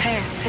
P3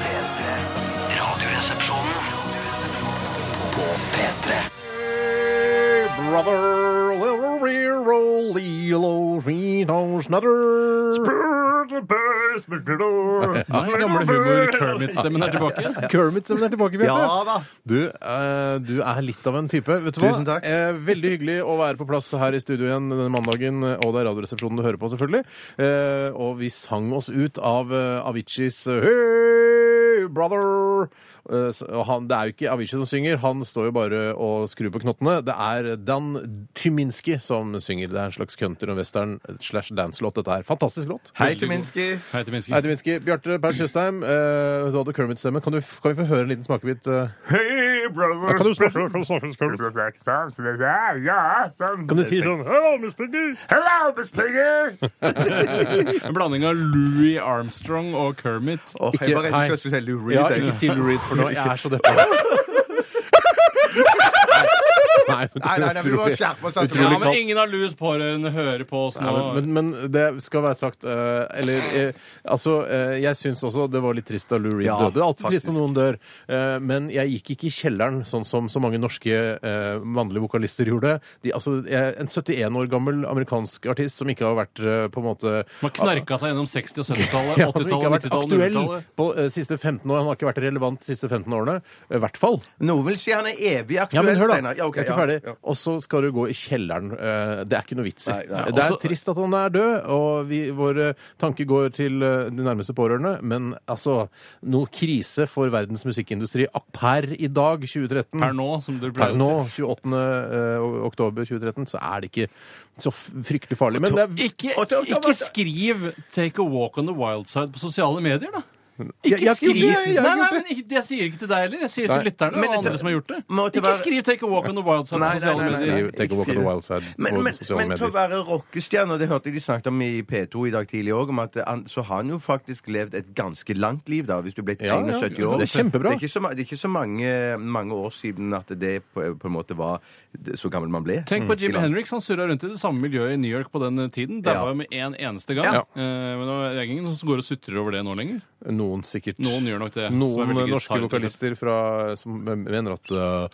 P3. Radioresepsjonen på P3. Brother, little real Lilo, Reno, Nei, gamle humor Kermit-stemmen er tilbake. Kermit som er tilbake, Bjarte. Ja da. Du, eh, du er litt av en type. Vet du hva? Tusen takk. Eh, veldig hyggelig å være på plass her i studio igjen denne mandagen. eh, Og det er Radioresepsjonen du hører på, selvfølgelig. Eh, og vi sang oss ut av eh, Aviciis Hey, brother! Eh, s- og han, det er jo ikke Avicii som synger, han står jo bare og skrur på knottene. Det er Dan Tyminski som synger. Det er en slags country og western eh, slash dance-låt, dette her. Fantastisk låt. Hei, Kuminski. Hei til mennesker. Hei, Tyminski. Bjarte Paul Tjøstheim, eh, du hadde Kermit-stemme. Kan, du f- kan vi få høre en liten smakebit? eh? Hey, brother. Kan du snakke- Kan du si sånn Hello, Miss Piggy! Hello, Miss Piggy. En blanding av Louis Armstrong og Kermit. Åh, Ikke- jeg var redd hei. for at du skulle si Lou Reed. Ja, jeg. ikke si Lou Reed for nå. Jeg er så deppa. Nei, nei, Nei, nei, nei, vi må skjerpe oss. Altså. Ja, Utrolig men ingen av Louis' pårørende hører på oss nå. Nei, men, men, men det skal være sagt eh, Eller eh, altså eh, Jeg syns også det var litt trist da Lou Reed Ja, døde. Det er alltid faktisk. trist når noen dør. Eh, men jeg gikk ikke i kjelleren, sånn som så mange norske eh, mannlige vokalister gjorde. De, altså, jeg, en 71 år gammel amerikansk artist som ikke har vært eh, på en måte Man knarka seg gjennom 60- og Ja, 70-tallet, altså, ikke har 80-tallet, vært 90-tallet, aktuell 00-tallet. på eh, siste 15 år. Han har ikke vært relevant de siste 15 årene. eh, I hvert fall. Noen vil si han er evig aktuell, Ja, men hør da, Steinar. Ja, ok, jeg er ja. ikke ferdig. Og så skal du gå i kjelleren. Eh, Det er ikke noe vits i. Nei, nei. Det er Også- trist at han er død, og vi, våre tanker går til eh, de nærmeste pårørende, men altså, noe krise for verdens musikkindustri ak- per i dag, 2013. Per nå, som du Per pleier nå, å 28. eh, oktober 2013, så er det ikke så f- fryktelig farlig. Men det er si. Ikke, ikke skriv 'Take a walk on the wild side' på sosiale medier, da. Ikke Jeg- jeg har ikke skriv gjort det, jeg har Nei, nei, gjort men ikke- Jeg sier ikke til deg heller. Jeg sier Nei. til lytterne og andre som har gjort det. må til Ikke være- skriv 'Take a walk on the wild side' Nei, på nei, sosiale nei, nei. medier. Skriv Take a walk on the wild side Men, på men, sosiale men til å medier. være rockestjerne, og det hørte jeg de snakket om i P2 i dag tidlig òg, så har han jo faktisk levd et ganske langt liv, da, hvis du ble Ja, ja. 71 Ja, år. det er kjempebra. Det er ikke så, ma- det er ikke så mange, mange år siden at det på, på en måte var det- så gammel man ble. Mm. Tenk på Jim Henry. Henriks. Han surra rundt i det samme miljøet i New York på den eh, tiden. Det Ja. var jo med én eneste gang. Ja. Eh, Men det er ingen som går og sutrer over det nå lenger. Noen sikkert Noen gjør nok det. som er Noen veldig norske gitarrete. vokalister fra, som mener at uh,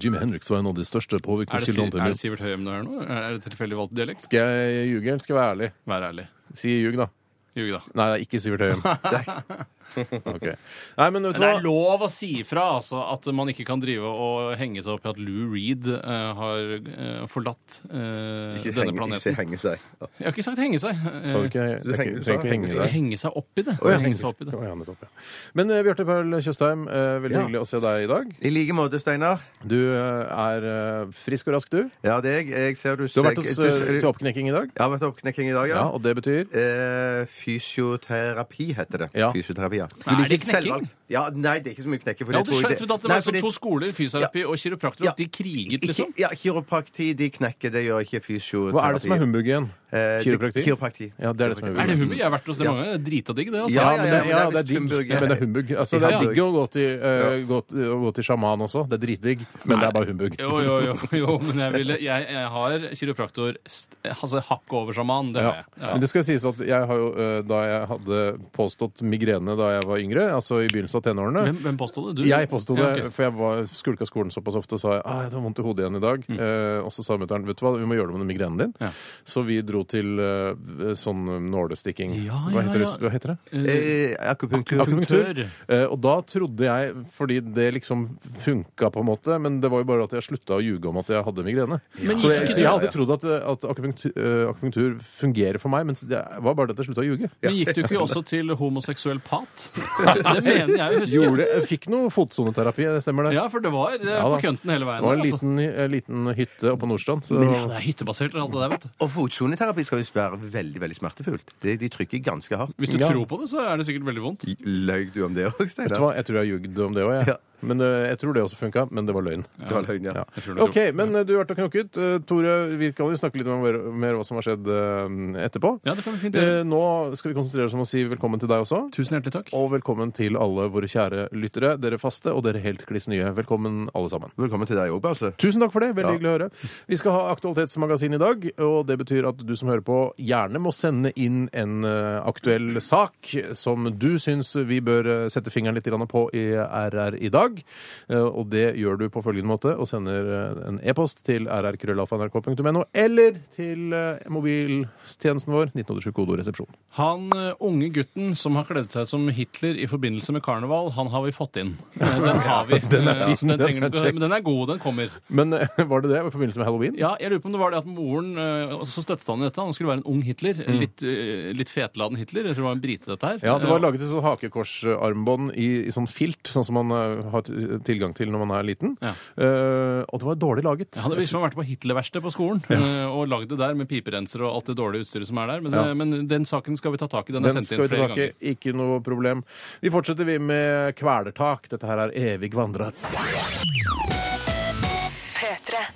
Jimmy Hendrix var en av de største Er det, Si- påvirkningskildene til er min. det Sivert Høyem du hører nå? Er det tilfeldig valgt dialekt? Skal jeg ljuge, eller skal jeg være ærlig? Vær ærlig. Si ljug, da. Ljug, da. Nei, det er ikke Sivert Høyem. Ok. Nei, men vet Men du det hva? er lov å si fra altså, at man ikke kan drive og henge seg opp i at Lou Reed eh, har eh, forlatt eh, Ikke denne henge, planeten. ikke henge seg. Ja. Jeg har ikke sagt henge seg. Eh, Sa du ikke Du jeg henger- trenger ikke henge ikke deg? henge seg opp i det. ja, henge seg opp i det. Å, ja, nettopp, ja. Men eh, Bjarte Paul Tjøstheim, eh, veldig Ja. hyggelig å se deg i dag. I like måte, Steinar. Du eh, er eh, frisk og rask, du. Ja, det er jeg. Jeg ser du Du har vært ser- hos, du- eh, til oppknekking i dag. Jeg har vært oppknekking i dag, ja. Ja, Og det betyr Eh, fysioterapi heter det. Ja. Fysioterapi, ja. Er det Litt knekking? selvvalgt. Ja, nei, det er ikke så mye knekking. for Jeg det hadde tror jeg skjønt det- ut at det Nei, var fordi- sånn to skoler, fysioterapi og kiropraktor, Ja. at de kriget, Ikke- liksom. Ja, kiroprakti, de knekker, det gjør ikke fysioterapi. Hva er det som er humbug igjen? Eh, det- Kiropraktikk? Kiroprakti. Ja, det er det som er humbug. Er det hummer? Jeg har vært hos det Ja. mange ganger. Det er Drita digg, det. altså. Ja, men Ja, ja, det, ja, ja, men det er det er litt digg. humbug. Ja, men det er humbug. Altså, det er digg å gå til, eh, gå, til- å gå til sjaman også. Det er dritdigg, men det er bare humbug. Jo, jo, jo, jo men jeg, ville, jeg, jeg har kiropraktor st- altså hakk over sjaman. Det Ja. har jeg. Men det skal sies at jeg har jo, eh, da jeg hadde påstått migrene da jeg var yngre, altså i begynnelsen av tenårene Hvem, hvem påstod det? Du? Jeg påsto det, Ja, ok. for jeg var, skulka skolen såpass ofte og sa ah, jeg har vondt i hodet igjen i dag. Eh, og så sa mutter'n vet du hva, vi må gjøre noe med den migrenen din. Ja. Så vi dro til eh, sånn nålestikking. Ja, hva, ja, heter ja. det? hva heter det? Eh, akupunktur. Akupunktør. Eh, og da trodde jeg, fordi det liksom funka på en måte, men det var jo bare at jeg slutta å ljuge om at jeg hadde migrene. Men så, gikk jeg, ikke så jeg har det- alltid trodd at, at akupunktur, eh, akupunktur fungerer for meg, men det var bare det at jeg slutta å ljuge. Men gikk du ikke også til homoseksuell pat? Det mener jeg å huske. Gjorde, jeg fikk noe fotsoneterapi, det stemmer det. Ja, for det var det er Ja, da. på kønten hele Det veien. var en altså. liten, en liten hytte oppe på Nordstrand. Så... Men ja, det er hyttebasert alt det der, vet du. Og fotsoneterapi skal jo være veldig veldig smertefullt. De, de trykker ganske hardt. Hvis du Ja. tror på det, så er det sikkert veldig vondt. Løy du om det òg, Vet du Steinar? hva, jeg tror jeg har ljugd om det òg, jeg. Ja. Men eh, jeg tror det også funka, men det var løgn. Det var løgn, ja. Jeg tror det- OK, men eh, du har vært og knokket. Eh, Tore, vi kan jo snakke litt mer mer om hva som har skjedd eh, etterpå. Ja, det kan vi fint Eh, gjøre. Nå skal vi konsentrere oss om å si velkommen til deg også. Tusen hjertelig takk. Og velkommen til alle våre kjære lyttere, dere faste og dere helt kliss nye. Velkommen alle sammen. Velkommen til deg altså. òg, Basse. Tusen takk for det. Veldig Ja. hyggelig å høre. Vi skal ha Aktualitetsmagasin i dag, og det betyr at du som hører på, gjerne må sende inn en eh, aktuell sak som du syns vi bør eh, sette fingeren litt grann på i RR i dag. Eh, Og det gjør du på følgende måte og sender eh, en e-post til rrkrøllalfa.nrk.no eller til eh, mobiltjenesten vår 1987 kodeord resepsjon. Han eh, unge gutten som har kledd seg som Hitler i forbindelse med karneval, han har vi fått inn. Eh, Den har vi. Den er Eh, altså, fin, den den trenger du er ikke å kjekk. høre, men den er god, den kommer. Men eh, var det det i forbindelse med halloween? Ja, jeg lurer på om det var det at moren eh, og Så støttet han i dette. Han skulle være en ung Hitler. en Litt, eh, litt fetladen Hitler. Jeg tror det var en brite, dette her. Mm. Ja, det var Eh, laget i sånn hakekorsarmbånd i, i sånn filt, sånn som man eh, har t- tilgang til når man er liten. Ja. Eh, og det var dårlig laget. Han hadde liksom vært på Hitlerverkstedet på skolen eh, og lagd det der med piperenser og alt det dårlige utstyret som er der. Men, eh, Ja. men den saken skal vi ta tak i. Den, er Den sendt skal inn vi flere tilbake, ganger. ikke noe problem. Vi fortsetter vi med kvelertak. Dette her er Evig vandrer. P3.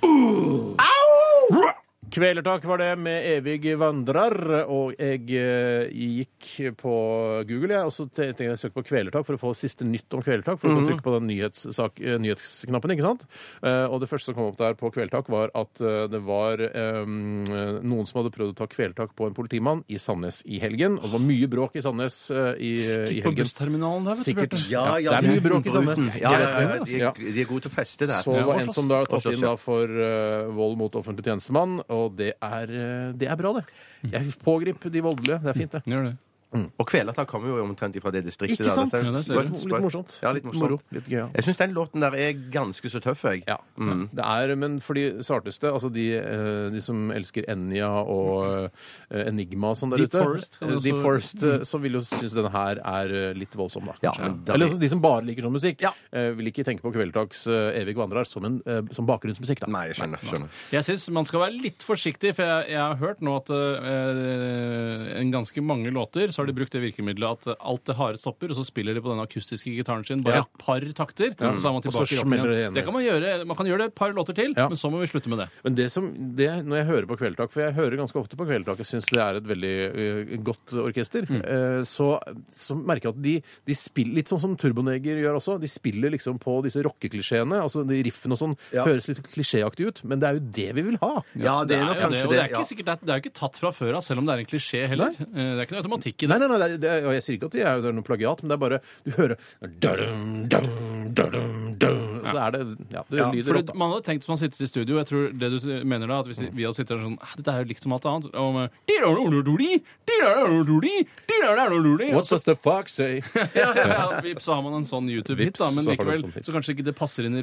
Kvelertak var det med Evig vandrer, og jeg eh, gikk på Google, jeg, og så te- tenkte jeg å søke på kvelertak for å få siste nytt om kvelertak, for å trykke på den nyhetssak, eh, nyhetsknappen, ikke sant? Eh, Og det første som kom opp der på kvelertak var at eh, det var eh, noen som hadde prøvd å ta kvelertak på en politimann i Sandnes i helgen, og det var mye bråk i Sandnes eh, i, i Stikk på helgen. bussterminalen der, vet du, Sikkert. Bjarte. Ja, det er mye bråk i Sandnes. Ja, Det ja, ja, vet vi. de, er, de er gode til å feste der. Så det var en som da tatt Også inn da for eh, vold mot offentlig tjenestemann, og det er, eh, det er bra, det. Jeg pågrip de voldelige. Det er fint, det. Gjør det. Og Kvelertak kommer jo omtrent fra det distriktet. Ikke sant? der. Ja, det ser Litt, du. litt morsomt. Ja, litt morsomt. moro. Litt gøy. Ja. Jeg Mm. syns den låten der er ganske så tøff, jeg. Ja. Det er, men for de sarteste, altså de, eh, de som elsker Enja og eh, Enigma og sånn der Deep ute, Forest kan eh, også- Deep Forest eh, så vil jo synes denne her er eh, litt voldsom, da. Mm. Ja, kanskje. men da- Eller altså de som bare liker sånn musikk, Ja. eh, vil ikke tenke på Kveldtags eh, Evig vandrer som, en, eh, som bakgrunnsmusikk, da. Nei, jeg skjønner. skjønner. Jeg syns man skal være litt forsiktig, for jeg, jeg har hørt nå at eh, en ganske mange låter så har de brukt det virkemidlet at alt det harde stopper, og så spiller de på den akustiske gitaren sin bare Ja. et par takter, og så er Og så man tilbake i rocken smeller det igjen. igjen. Det kan man gjøre. Man kan gjøre det et par låter til, Ja. men så må vi slutte med det. Men det som, det, når jeg hører på Kveldtak, for jeg hører ganske ofte på Kveldtak, jeg syns det er et veldig ø, godt orkester, eh, så, så merker jeg at de, de spiller litt sånn som Turboneger gjør også. De spiller liksom på disse rockeklisjeene. Altså de riffene og sånn Ja. høres litt klisjéaktig ut, men det er jo det vi vil ha. Ja, det jo er nok det, kanskje og det det. er, ikke ja. sikkert, det, er, det er jo ikke tatt fra før av, selv om det er en klisjé heller. Nei. Eh, Det er ikke noe automatikk i det. Nei, nei, nei, det er, og jeg sier ikke at det er, det er noe plagiat, men det er bare Du hører dum, dum, dum, dum, og Så er det Ja, det lyder Fordi rått, da. man hadde tenkt hvis man sitter i studio Jeg tror det du mener da At hvis vi hadde sittet der sånn «Ah, Dette er jo likt som alt annet og med, «Di-da-da-da-da-di, di-da-da-da-da-di, di-da-da-da-da-di», og What så- does the fuck say? ja, ja, ja, vips, så har man en sånn YouTube-hit da Vips, Men så har man en likevel sånn hit. Så kanskje ikke det passer inn i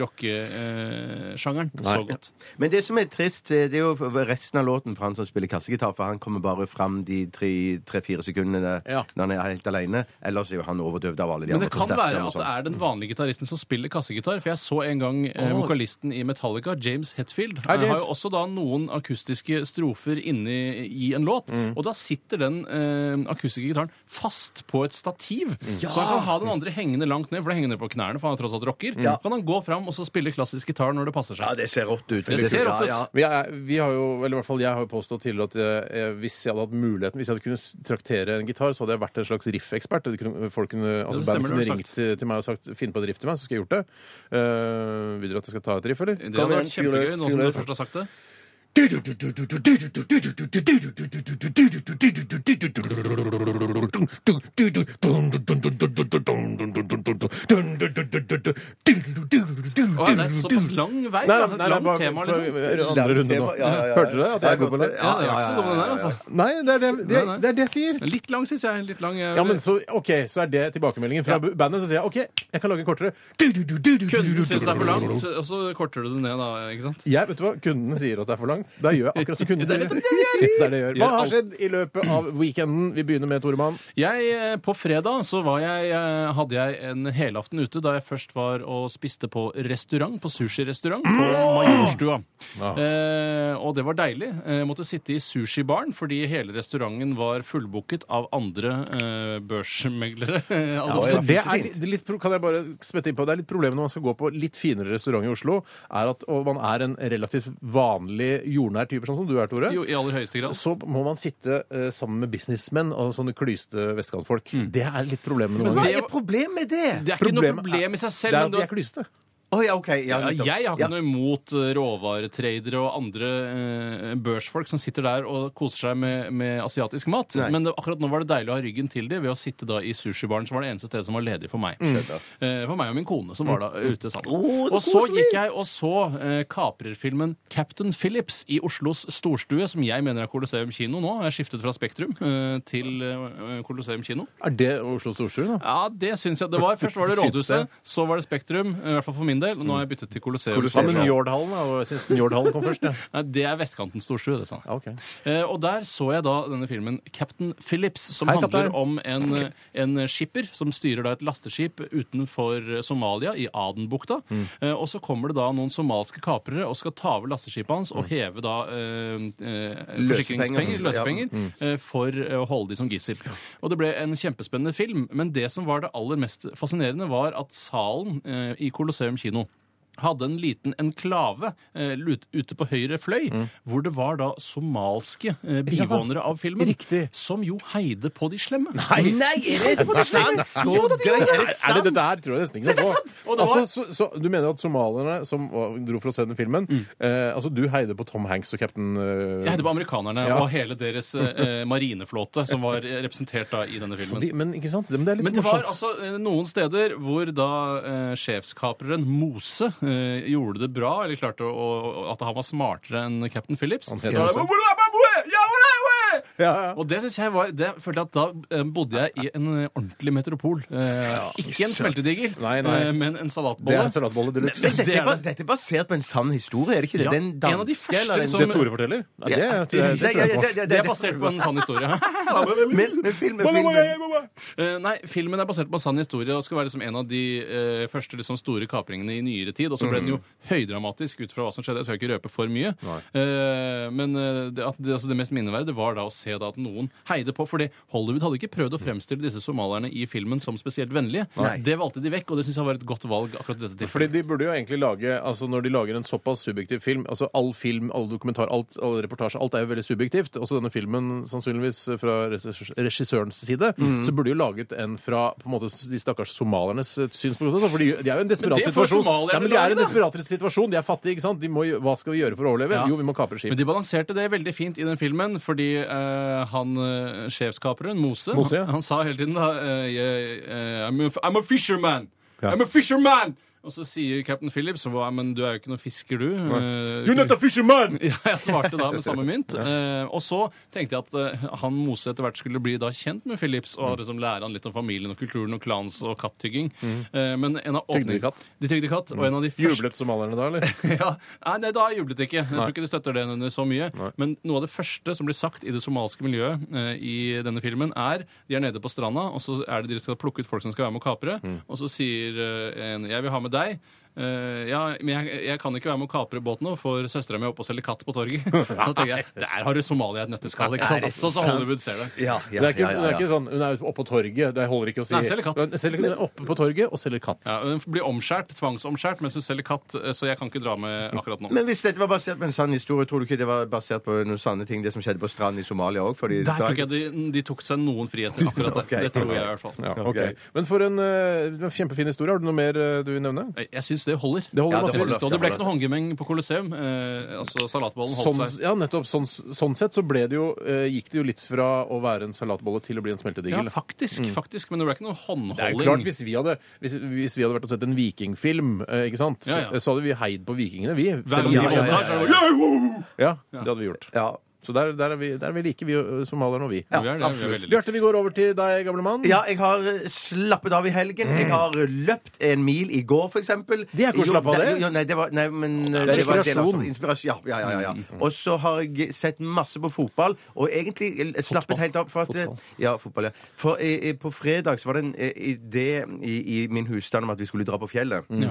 rockesjangeren Så godt Men det som er trist, eh, det er jo resten av låten for han som spiller kassegitar, for han kommer bare fram de tre-fire sekundene Ja. når han er helt alene. Ellers er jo han overdøvd av alle de Men det andre kan være forsterkerne og at det sånn. er den vanlige gitaristen som spiller kassegitar. For jeg så en gang eh, Åh. vokalisten i Metallica, James Hetfield, Hei, eh, har James. jo også da noen akustiske strofer inni i en låt. Og da sitter den eh, akustiske gitaren fast på et stativ. Så han kan ha den andre hengende langt ned, for det henger ned på knærne, for han er tross alt rocker. Kan han gå fram og så spille klassisk gitar når det passer Ja, seg. det ser rått ut. Det ser rått ut. Ja, ja. Men jeg, vi har jo, eller i hvert fall jeg har jo påstått tidligere at eh, eh, hvis jeg hadde hatt muligheten, hvis jeg hadde kunnet s- traktere en gitar, så hadde jeg vært en slags riffekspert. Det kunne- Folk kunne, altså det band stemmer, kunne det har du ringt til, til meg og sagt 'finn på et riff til meg', så skulle jeg gjort det. Eh, vil dere at jeg skal ta et riff, eller? Det hadde vært kjempegøy, nå som du først har sagt det. Å, ja, det er såpass lang vei. Nei, da. nei, Et nei, langt bare- tema, liksom. Andre runde nå. Hørte du det? At jeg er god på det? Ja, det var ikke så dum den der, altså. Nei, det er det, det, Nei, nei. det, er det jeg sier. Litt lang, syns jeg. Litt lang. eh, Ja, men så, ok, så er det tilbakemeldingen fra bandet. Så sier jeg OK, jeg kan lage kortere. Kunden syns det er for langt, og så korter du det ned, da. ikke sant? Jeg, vet du hva? Kundene sier at det er for langt. Da gjør jeg akkurat som kunden Det er sier. nettopp Det er det jeg gjør. Hva Gjør har alt. skjedd i løpet av weekenden? Vi begynner med Toremann. Jeg, eh, på fredag så var jeg, eh, hadde jeg en helaften ute da jeg først var og spiste på restaurant, på sushirestaurant på Majorstua. Eh, og det var deilig. Eh, Jeg måtte sitte i sushibaren fordi hele restauranten var fullbooket av andre eh, børsmeglere. Altså, For det er, litt- litt, pro- kan jeg bare spette innpå, det er litt problemet når man skal gå på litt finere restaurant i Oslo, er at og man er en relativt vanlig jordnær type, sånn som du er, Tore. jo, I aller høyeste grad. Så må man sitte eh, sammen med businessmenn og sånne klyste vestkantfolk. Mm. Det er litt problemet noen Hva ganger. er problemet med det? Det er ikke noe Problemet er- problem i seg Det selv. er men at det de er var- klyste. Å ja, OK. Ja, Ja, nettopp. jeg har ikke noe Ja. imot eh, råvaretradere og andre eh, børsfolk som sitter der og koser seg med, med asiatisk mat. Men det, akkurat nå var det deilig å ha ryggen til det ved å sitte da i sushibaren, som var det eneste stedet som var ledig for meg. Eh, for meg og min kone, som var da ute sammen. og så gikk jeg og så eh, kaprerfilmen Captain Phillips i Oslos storstue, som jeg mener er Colosseum kino nå. Jeg har skiftet fra Spektrum eh, til eh, Colosseum kino. Er det Oslo Storsjø, da? Ja, det syns jeg. Det var, først var det Syns det. Rådhuset, så var det Spektrum, eh, i hvert fall for min del. Og nå har jeg byttet til Colosseum. Ja, men Njordhallen, da. og Jeg syns Njordhallen kom først, ja. Nei, det er vestkantens storsjø, det sa han. Ja, ok. Eh, og der så jeg da denne filmen Captain Phillips, som Hei, handler kaptein. om en, en skipper som styrer da et lasteskip utenfor Somalia, i Adenbukta. Mm. Eh, og så kommer det da noen somalske kaprere og skal ta over lasteskipet hans Mm. og heve da eh, eh, forsikringspenger, altså. løsepenger, Mm. eh, for eh, å holde de som gissel. Og det ble en kjempespennende film, men det som var det aller mest fascinerende, var at salen eh, i Colosseum kino hadde en liten enklave eh, lut- ute på høyre fløy, Mm. hvor det var da somalske eh, bivånere av filmen. riktig. Som jo heide på de slemme. Nei, er det sant? Så gøy! Er det Er det sant? dette her, tror jeg nesten ikke noe på. Og det var- Altså, så, så, du mener at somalierne som var- dro for å se den filmen eh, Altså, du heide på Tom Hanks og Captain eh, Mm. Jeg heide på amerikanerne Ja. og hele deres eh, marineflåte, som var eh, representert da i denne så filmen. de, Men ikke sant? Men det er litt Men det var morsomt. altså eh, noen steder hvor da eh, sjefskapreren Mose eh, gjorde det bra, eller klarte å, å, at han var smartere enn Captain Phillips. Han heter Da- Mose. ja, ja. Og det synes jeg var det, følte jeg at Da eh, bodde jeg i en eh, ordentlig metropol. Eh, ikke en smeltedigel, Nei, nei. eh, men en salatbolle. Det er salatbolle de luxe. Dette er, ba- dette er basert på en sann historie, er det ikke det? Ja, det er en, en av de danske, første liksom. eller en- som- Det Tore forteller? Nei, Ja. det, tror jeg, det tror jeg på. det- det- Det er basert på en sann historie. Men, men filmen, filmen Eh, nei, filmen er basert på en sann historie og skal være liksom en av de eh, første liksom, store kapringene i nyere tid. Og så ble den jo Mhm. høydramatisk ut fra hva som skjedde. Jeg skal ikke røpe for mye. Eh, men eh, det, at det, altså, det mest minneverdige var da å se da at noen heide på. Fordi Hollywood hadde ikke prøvd å fremstille disse somalierne i filmen som spesielt vennlige. Det valgte de vekk, og det syns jeg var et godt valg akkurat i dette tilfellet. Fordi de burde jo egentlig lage altså Når de lager en såpass subjektiv film altså All film, all dokumentar, alt, all reportasje, alt er jo veldig subjektivt. Også denne filmen, sannsynligvis fra regissør- regissørens side, Mm. så burde de jo laget en fra på en måte de stakkars somaliernes eh, synspunkt. også, For de, de er jo i en desperat Men det får situasjon. somalierne men de er i en lage, desperat situasjon. De er fattige, ikke sant? De må, jo- hva skal vi gjøre for å overleve? Ja. Jo, vi må kapre skip. Men de balanserte det veldig fint i den filmen, fordi eh, han eh, sjefskaperen, Mose, Mose, ja. han, han sa hele tiden da eh, jeg, eh, I'm, a, I'm a fisherman! I'm a fisherman! Og så sier Captain Phillips hva, men du er jo ikke noen fisker, du. Eh, You're not a fisherman! ja, jeg svarte da med samme mynt. Eh, og så tenkte jeg at eh, han Mose etter hvert skulle bli da kjent med Philips og Mm. liksom lære han litt om familien og kulturen og klans og kattygging. Mm. Eh, men en av åpning- Tygdekatt. De tygde katt. Og en av de første Jublet somalierne da, eller? ja. Nei, nei, da jublet de ikke. Jeg tror ikke de støtter den under så mye. Men noe av det første som blir sagt i det somalske miljøet eh, i denne filmen, er de er nede på stranda, og så er det de skal plukke ut folk som skal være med å kapre. Og så sier eh, en 'jeg vil ha med deg'. Eh, ja, men jeg, jeg kan ikke være med å kapre båten nå, for søstera mi er oppe og selger katt på torget. Da tenker jeg, Der har du Somalia i et nøtteskall, ikke sant? Sånn som Hollywood ser det. Ja, ja, Det er ikke, ja, ja, Det ja. er ikke sånn hun er oppe på torget. Det holder ikke å si. Nei, selger katt. Hun selger- hun er oppe på torget og selger katt. Ja, hun blir omskjært, tvangsomskjært mens hun selger katt, eh, så jeg kan ikke dra med akkurat nå. Men hvis dette var basert på en sann historie, tror du ikke det var basert på noen sanne ting, det som skjedde på stranden i Somalia òg? Der tror ikke jeg de, de tok seg noen friheter. akkurat det. Ok. Det tror jeg i hvert fall. Ja, Ok. ok. Men for en eh, kjempefin historie. Har du noe mer eh, du vil nevne? Nei, Jeg syns det holder. Det holder Ja, det Jeg masse. synes holder. det, og det ble ikke noe håndgemeng på Colosseum. Eh, altså Salatbollen holdt Sånn, seg. ja, nettopp. Sånn, sånn sett så ble det jo, eh, gikk det jo litt fra å være en salatbolle til å bli en Ja, smeltedigel. faktisk, Mm. faktisk. Men det ble ikke noe det er jo håndholding. klart, hvis vi, hadde, hvis, hvis vi hadde vært og sett en vikingfilm, eh, ikke sant? Ja, ja. Så hadde vi heid på vikingene, vi. Hver Selv om gang de de var- voldtar, så er det jo, «Yeah, woo!» Ja, det hadde vi gjort. Ja. Så der, der, er vi, der er vi like, vi eh, ø, somalierne og vi. Vi er det, vi er veldig like. Bjarte, vi går over til deg, gamle mann. Ja, jeg har eh, slappet av i helgen. Jeg har eh, løpt en mil i går, for eksempel. Mm. Det er ikke å Jo, slappe av, nei, det. jo, Nei, det var, nei, men, eh, det er var en del av- inspirasjon. Mm, inspirasjon. Ja, ja, ja, ja, ja. Og så har jeg sett masse på fotball, og egentlig eh, slappet helt av. For at, eh, Fotball. ja, fotball, ja. For eh, eh, på fredag så var det en eh, idé i, i min husstand om at vi skulle dra på fjellet. Mm. Ja.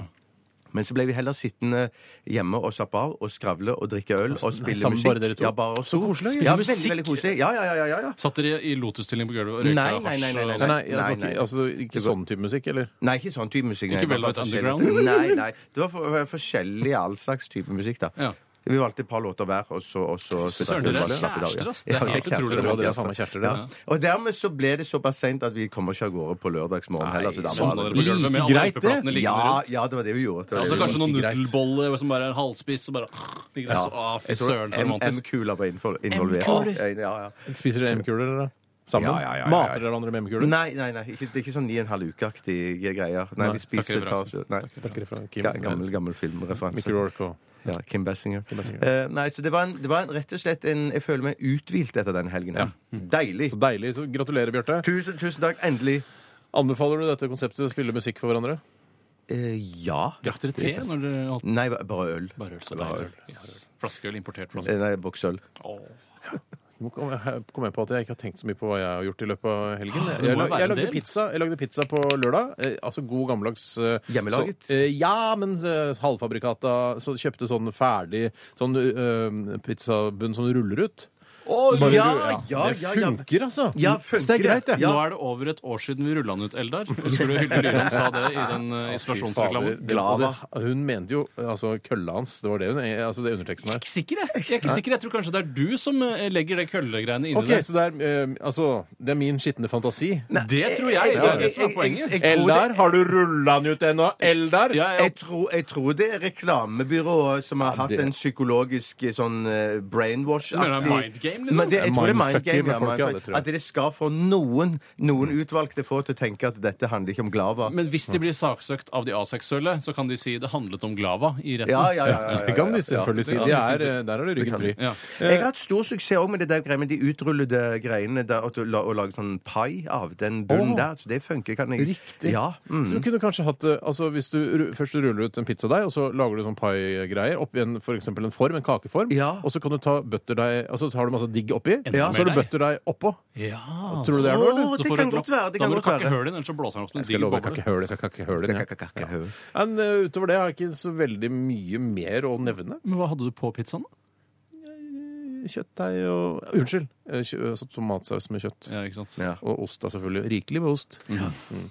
Men så ble vi heller sittende hjemme og slappe av og skravle og drikke øl og spille sammen musikk. bare dere to? Ja, bare oss Så to. koselig. Ja, Spille veldig, musikk? veldig koselig. Ja, ja, ja, ja, ja. Satt dere i lotusstilling på gulvet og Nei, røyka nei, hasj? nei, nei, og- nei, Nei, nei, jeg nei, tror ikke, nei. altså, ikke sånn type musikk, eller? Nei, ikke sånn type musikk. nei. Ikke Velvet Det var forskjellig. Underground? Nei, nei. Det var for, for- forskjellig all slags type musikk, da. Ja. Vi valgte et par låter hver, og så, og så Søren, dere er kjærester, ass. Det er Ja, vi helt kjærester, utrolig. vi er Dere samme kjærester, dere. Og dermed så ble det såpass seint at vi kommer ikke av gårde på lørdagsmorgen heller. Så da sovna dere var Sånn det sånn på gulvet med Like alle greit, det. hjelpeplatene liggende ja, rundt? ja, det var det vi gjorde. Det var Altså det vi kanskje noen like greit. nudelboller som bare er halvspiss og bare ikke så, Å, fy Jeg tror søren, så M- romantisk. M-kula var innenfor- involvert. M-kuler? Ja, ja, ja. Spiser dere M-kuler, eller? Sammen? Ja, ja, ja, ja, ja. Mater dere hverandre med M-kuler? Nei, nei, nei. Ikke, det er ikke sånn ni og en halv uke-aktige greier. Nei, Nei, vi spiser takk, tar, referansen. nei. Takker fra Kim. Ga- Gammel, gammel Mickey filmreferanse. Rourke og Ja, Kim Bessinger. Bessinger. Eh, nei, så det var, en, det var en, rett og slett en Jeg føler meg uthvilt etter den helgen. her. Mm. Deilig. Så deilig. Så gratulerer, Bjarte. Tusen, tusen takk. Endelig. Anbefaler du dette konseptet å spille musikk for hverandre? Eh, ja. Drakk dere te når dere holdt Nei, ba- bare øl. bare øl? Så deilig øl. Ja, øl. Flaskeøl, importert flaske. Eh, Nei, boksøl. Åh. Nå kom jeg kom jeg på at jeg ikke har tenkt så mye på hva jeg har gjort i løpet av helgen. Jeg, Det må jeg, jo være en lagde, del. pizza, jeg lagde pizza på lørdag. Eh, altså god gammeldags eh, Hjemmelaget? Så, eh, ja, men eh, halvfabrikata. Så kjøpte sånn ferdig sånn eh, pizzabunn som ruller ut. Bare rull- Det funker, altså. Ja, funker så det er greit, det. Ja. Nå er det over et år siden vi rulla den ut, Eldar. Husker du Hilde Lyland sa det i den eh, isolasjonsreklamen? Det- og det- Hun mente jo altså kølla hans. Det var det hun altså det er underteksten her. Ikke sikker, jeg. jeg er ikke sikker. Jeg tror kanskje det er du som eh, legger det køllegreiene inni Ok, Så det er, eh, altså, det er min skitne fantasi. det. Det tror jeg. Det er det som er poenget. Jeg, jeg, jeg, tror det- har du rulla den ut ennå? Eldar? Ja, ja. jeg, tror, jeg tror det er reklamebyrået som har hatt det- en psykologisk eh, sånn eh, Men det brainwash-aktig er mind game, liksom. Men det, jeg tror det er mind Mindfucker game. med Ja, folk, ja, det mindfuck. tror jeg. Mm. at det skal få noen, noen utvalgte få til å tenke at dette handler ikke om Glava. Men hvis de blir saksøkt av de aseksuelle, så kan de si det handlet om glava i retten. Ja, ja, ja, ja, ja, Det kan de selvfølgelig si. De Ja, det er, kan de eh, der er det ryggen fri. Ja. Jeg har hatt stor suksess også med det der greiene med de utrullede greiene der, og, til, å la- å lage sånn pai av den bunnen Åh. der. Så det funker. Kan jeg Riktig. Ja. Mm. Så du kunne kanskje hatt eh, altså Hvis du ru- først du ruller ut en pizzadeig, og så lager du sånn pai-greier oppi en, for eksempel en form, en kakeform, Ja. og så kan du ta butterdeig og så tar du masse digg oppi, Enda så har mer du deig. butterdeig oppå. Ja. Tror du det er noe, eller? Åh, Du det får kan et lokk. godt være. Da Det kan må du godt kakke være. høl i den, ellers så blåser den opp som Jeg en skal digg love deg boble. kakehøl. Jeg skal kakehøl Skal igjen. jeg kakke- kakke høl? Men eh, utover det har jeg ikke så veldig mye mer å nevne. Men hva hadde du på pizzaen, da? Kjøttdeig og Unnskyld! eh, kjø- altså Tomatsaus med kjøtt. Ja, ikke sant? Ja. Og ost, da, selvfølgelig. Rikelig med ost. Ja, mm.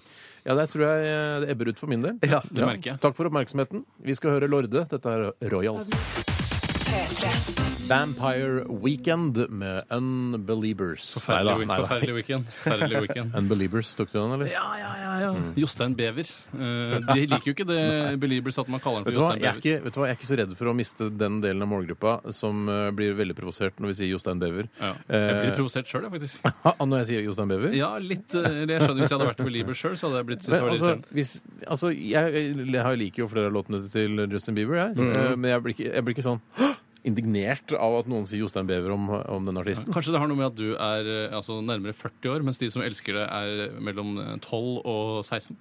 ja der tror jeg eh, det ebber ut for min del. Ja. Det merker jeg. Takk for oppmerksomheten. Vi skal høre Lorde. Dette er Royals. Vampire Weekend med Unbelievers. Neida, Forferdelig, neida. forferdelig weekend. Forferdelig weekend. Unbelievers, tok du den, eller? Ja, ja, ja, ja. Jostein Bever. Eh, De liker jo ikke det Beliebers at man kaller ham Vet for du, hva? Jeg Jostein er Bever. ikke, vet du hva, jeg er ikke så redd for å miste den delen av målgruppa som eh, blir veldig provosert når vi sier Jostein Bever. Ja. Jeg eh, blir provosert sjøl, faktisk. Ah, når jeg sier Jostein Bever? Ja, litt. eh, Jeg skjønner Hvis jeg hadde vært Belieber sjøl, så hadde jeg blitt så Men, var det altså, irriterende. hvis, altså jeg, jeg, jeg liker jo flere av låtene til Justin Bieber, jeg. Eh, Men jeg blir ikke, jeg blir ikke sånn «Hå!» indignert av at noen sier Jostein Bever om, om den artisten. Kanskje det har noe med at du er eh, altså, nærmere 40 år, mens de som elsker det, er mellom eh, 12 og 16?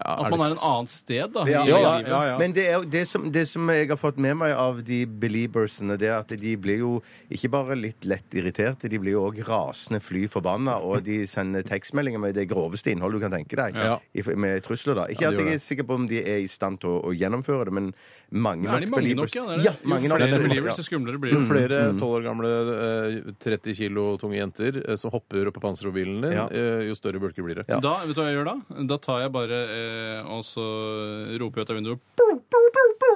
At man er en annen sted da, Ja, i Ja, livet. ja, ja. Men det, er jo, det, som, det som jeg har fått med meg av de beliebersene, det er at de blir jo ikke bare litt lett irriterte, de blir jo òg rasende fly forbanna, og de sender tekstmeldinger med det groveste innholdet du kan tenke deg. Ja. I, med trusler, da. Ikke Ja, de at gjør jeg det. er sikker på om de er i stand til å, å gjennomføre det, men mange Er de mange nok, ja? Det Beliebers- er det. ja mange jo nok. flere Ja. Beliebers, jo skumlere blir det. Flere tolv år gamle eh, 30 kilo tunge jenter eh, som hopper opp på pansermobilen din, Ja. eh, jo større bulker blir det. Ja. Da, vet du hva jeg gjør da? Da tar jeg bare eh, og så roper jeg ut av vinduet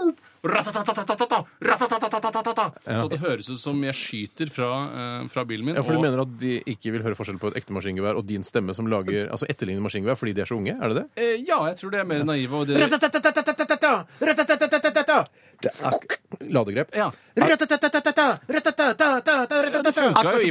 Ratatatatata, ratatatatata. Og det høres ut som jeg skyter fra, eh, fra bilen min. Ja, For du og- mener at de ikke vil høre forskjell på et ekte maskingevær og din stemme som lager, altså etterligner maskingevær fordi de er så unge? Er det det? Eh, ja, jeg tror det er mer naive. Og det, Ratatatatatata! Ratatatatatata! Det er ak- Ladegrep. Ja. Ratatatatata, ratatatatata, ratatata. funka jo i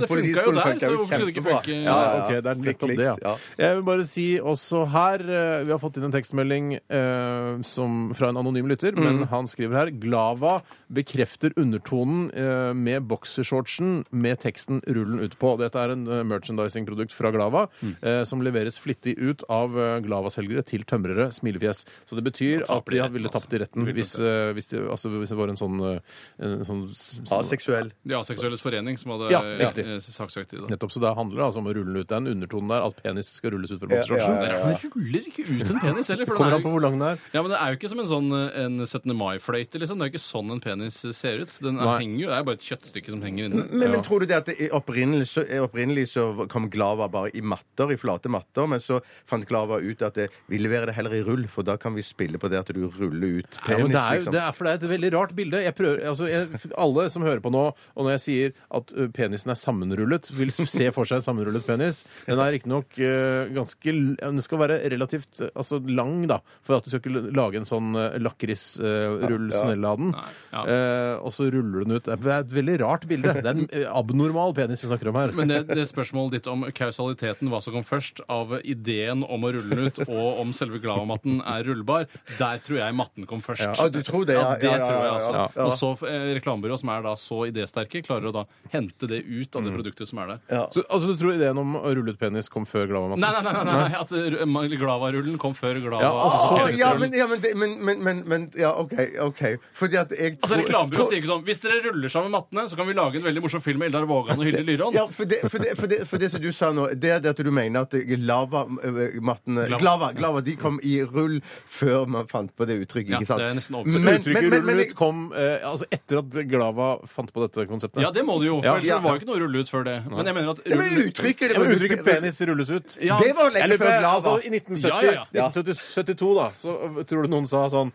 politiskolen. Ja, det funka jo politiskolen der, funka så jo hvorfor skulle det ikke kjempebra. funke? Ja, ja, ja. ok, det er Likt, nettopp det, likt, ja. ja. Jeg vil bare si også her eh, Vi har fått inn en tekstmelding eh, som, fra en anonym lytter, men han skriver her Glava bekrefter undertonen eh, med boksershortsen med teksten 'rullen ut på'. Dette er en eh, merchandisingprodukt fra Glava eh, som leveres flittig ut av eh, Glava-selgere til tømrere. Smilefjes. Så det betyr at de hadde- ville tapt i retten hvis, eh, hvis, de, altså, hvis det var en sånn, eh, en sånn Aseksuell. De Aseksuelles forening som hadde Ja, eh, riktig. eh, saksøkt i det. Nettopp, så Det handler det altså om å rulle den ut. Det er en undertone der. At penis skal rulles ut fra Ja, boksershortsen. ja, ja, ja. Men det ruller ikke ut en penis heller. For Kommer den an er på jo, hvor lang den er. ja, men det er jo ikke som en sånn eh, en 17. mai-fløyte. Liksom. Det er jo ikke sånn en penis ser ut. Den er, Nei. henger jo, det er bare et kjøttstykke som henger inne. Men, men tror du det at det, i opprinnelig, så, i opprinnelig så kom Glava bare i matter, i flate matter, men så fant Glava ut at det, vi leverer det heller i rull, for da kan vi spille på det at du ruller ut Ja, penis, men det, er, jo- liksom. det er for det er et veldig rart bilde. Jeg prøver, altså, jeg, alle som hører på nå, og når jeg sier at ø, penisen er sammenrullet, vil se for seg en sammenrullet penis. Den er riktignok uh, ganske l- Den skal være relativt ø, altså, lang, da, for at du skal ikke l- lage en sånn uh, lakrisrull snelle av den. Nei, ja. Eh, og så ruller den ut. Det er et veldig rart bilde. Det er en ø, abnormal penis vi snakker om her. Men det, det spørsmålet ditt om kausaliteten, hva som kom først, av ideen om å rulle den ut, og om selve Glavamatten er rullbar, der tror jeg matten kom først. Ja, du tror det, ja. Ja, det Ja, ja, tror jeg, ja, altså. ja, ja. Og så eh, reklamebyrået, som er da så idésterke, klarer å da hente det ut av Mm. det produktet som er der. Så, altså, du tror ideen om å rulle ut penis kom før Glavamatten? Nei, nei, nei, nei, nei, at eh, ma- Glava-rullen kom før Glava. Ja, altså, Å, ja, penisrullen. men, ja, men, det- men, men, men, men Ja, OK. ok. Fordi at jeg Altså tror- Reklamebyrået tror- sier ikke sånn Hvis dere ruller sammen mattene, så kan vi lage en veldig morsom film med Eldar Vågan og Hilde Lyrån. Ja, for det, for, det, for, det, for det som du sa nå, det er det at du mener at lavamattene Glava. Glava, glava, de kom i rull før man fant på det uttrykket, Ja, ikke sant? det er nesten Men- overbevist. Så men- uttrykket men- 'rull men- ut' kom eh, altså etter at Glava fant på dette konseptet? Ja, det må du jo, for Ja. ellers så var jo ikke noe å rulle ut før det. Men jeg mener at Ja, men rull... uttrykket det Ja, men var- uttrykket 'penis rulles ut' Ja, Det var lenge Jeg lurer på, før Glava. altså, I 1970, Ja, ja, 1972, da, så uh, tror du noen sa sånn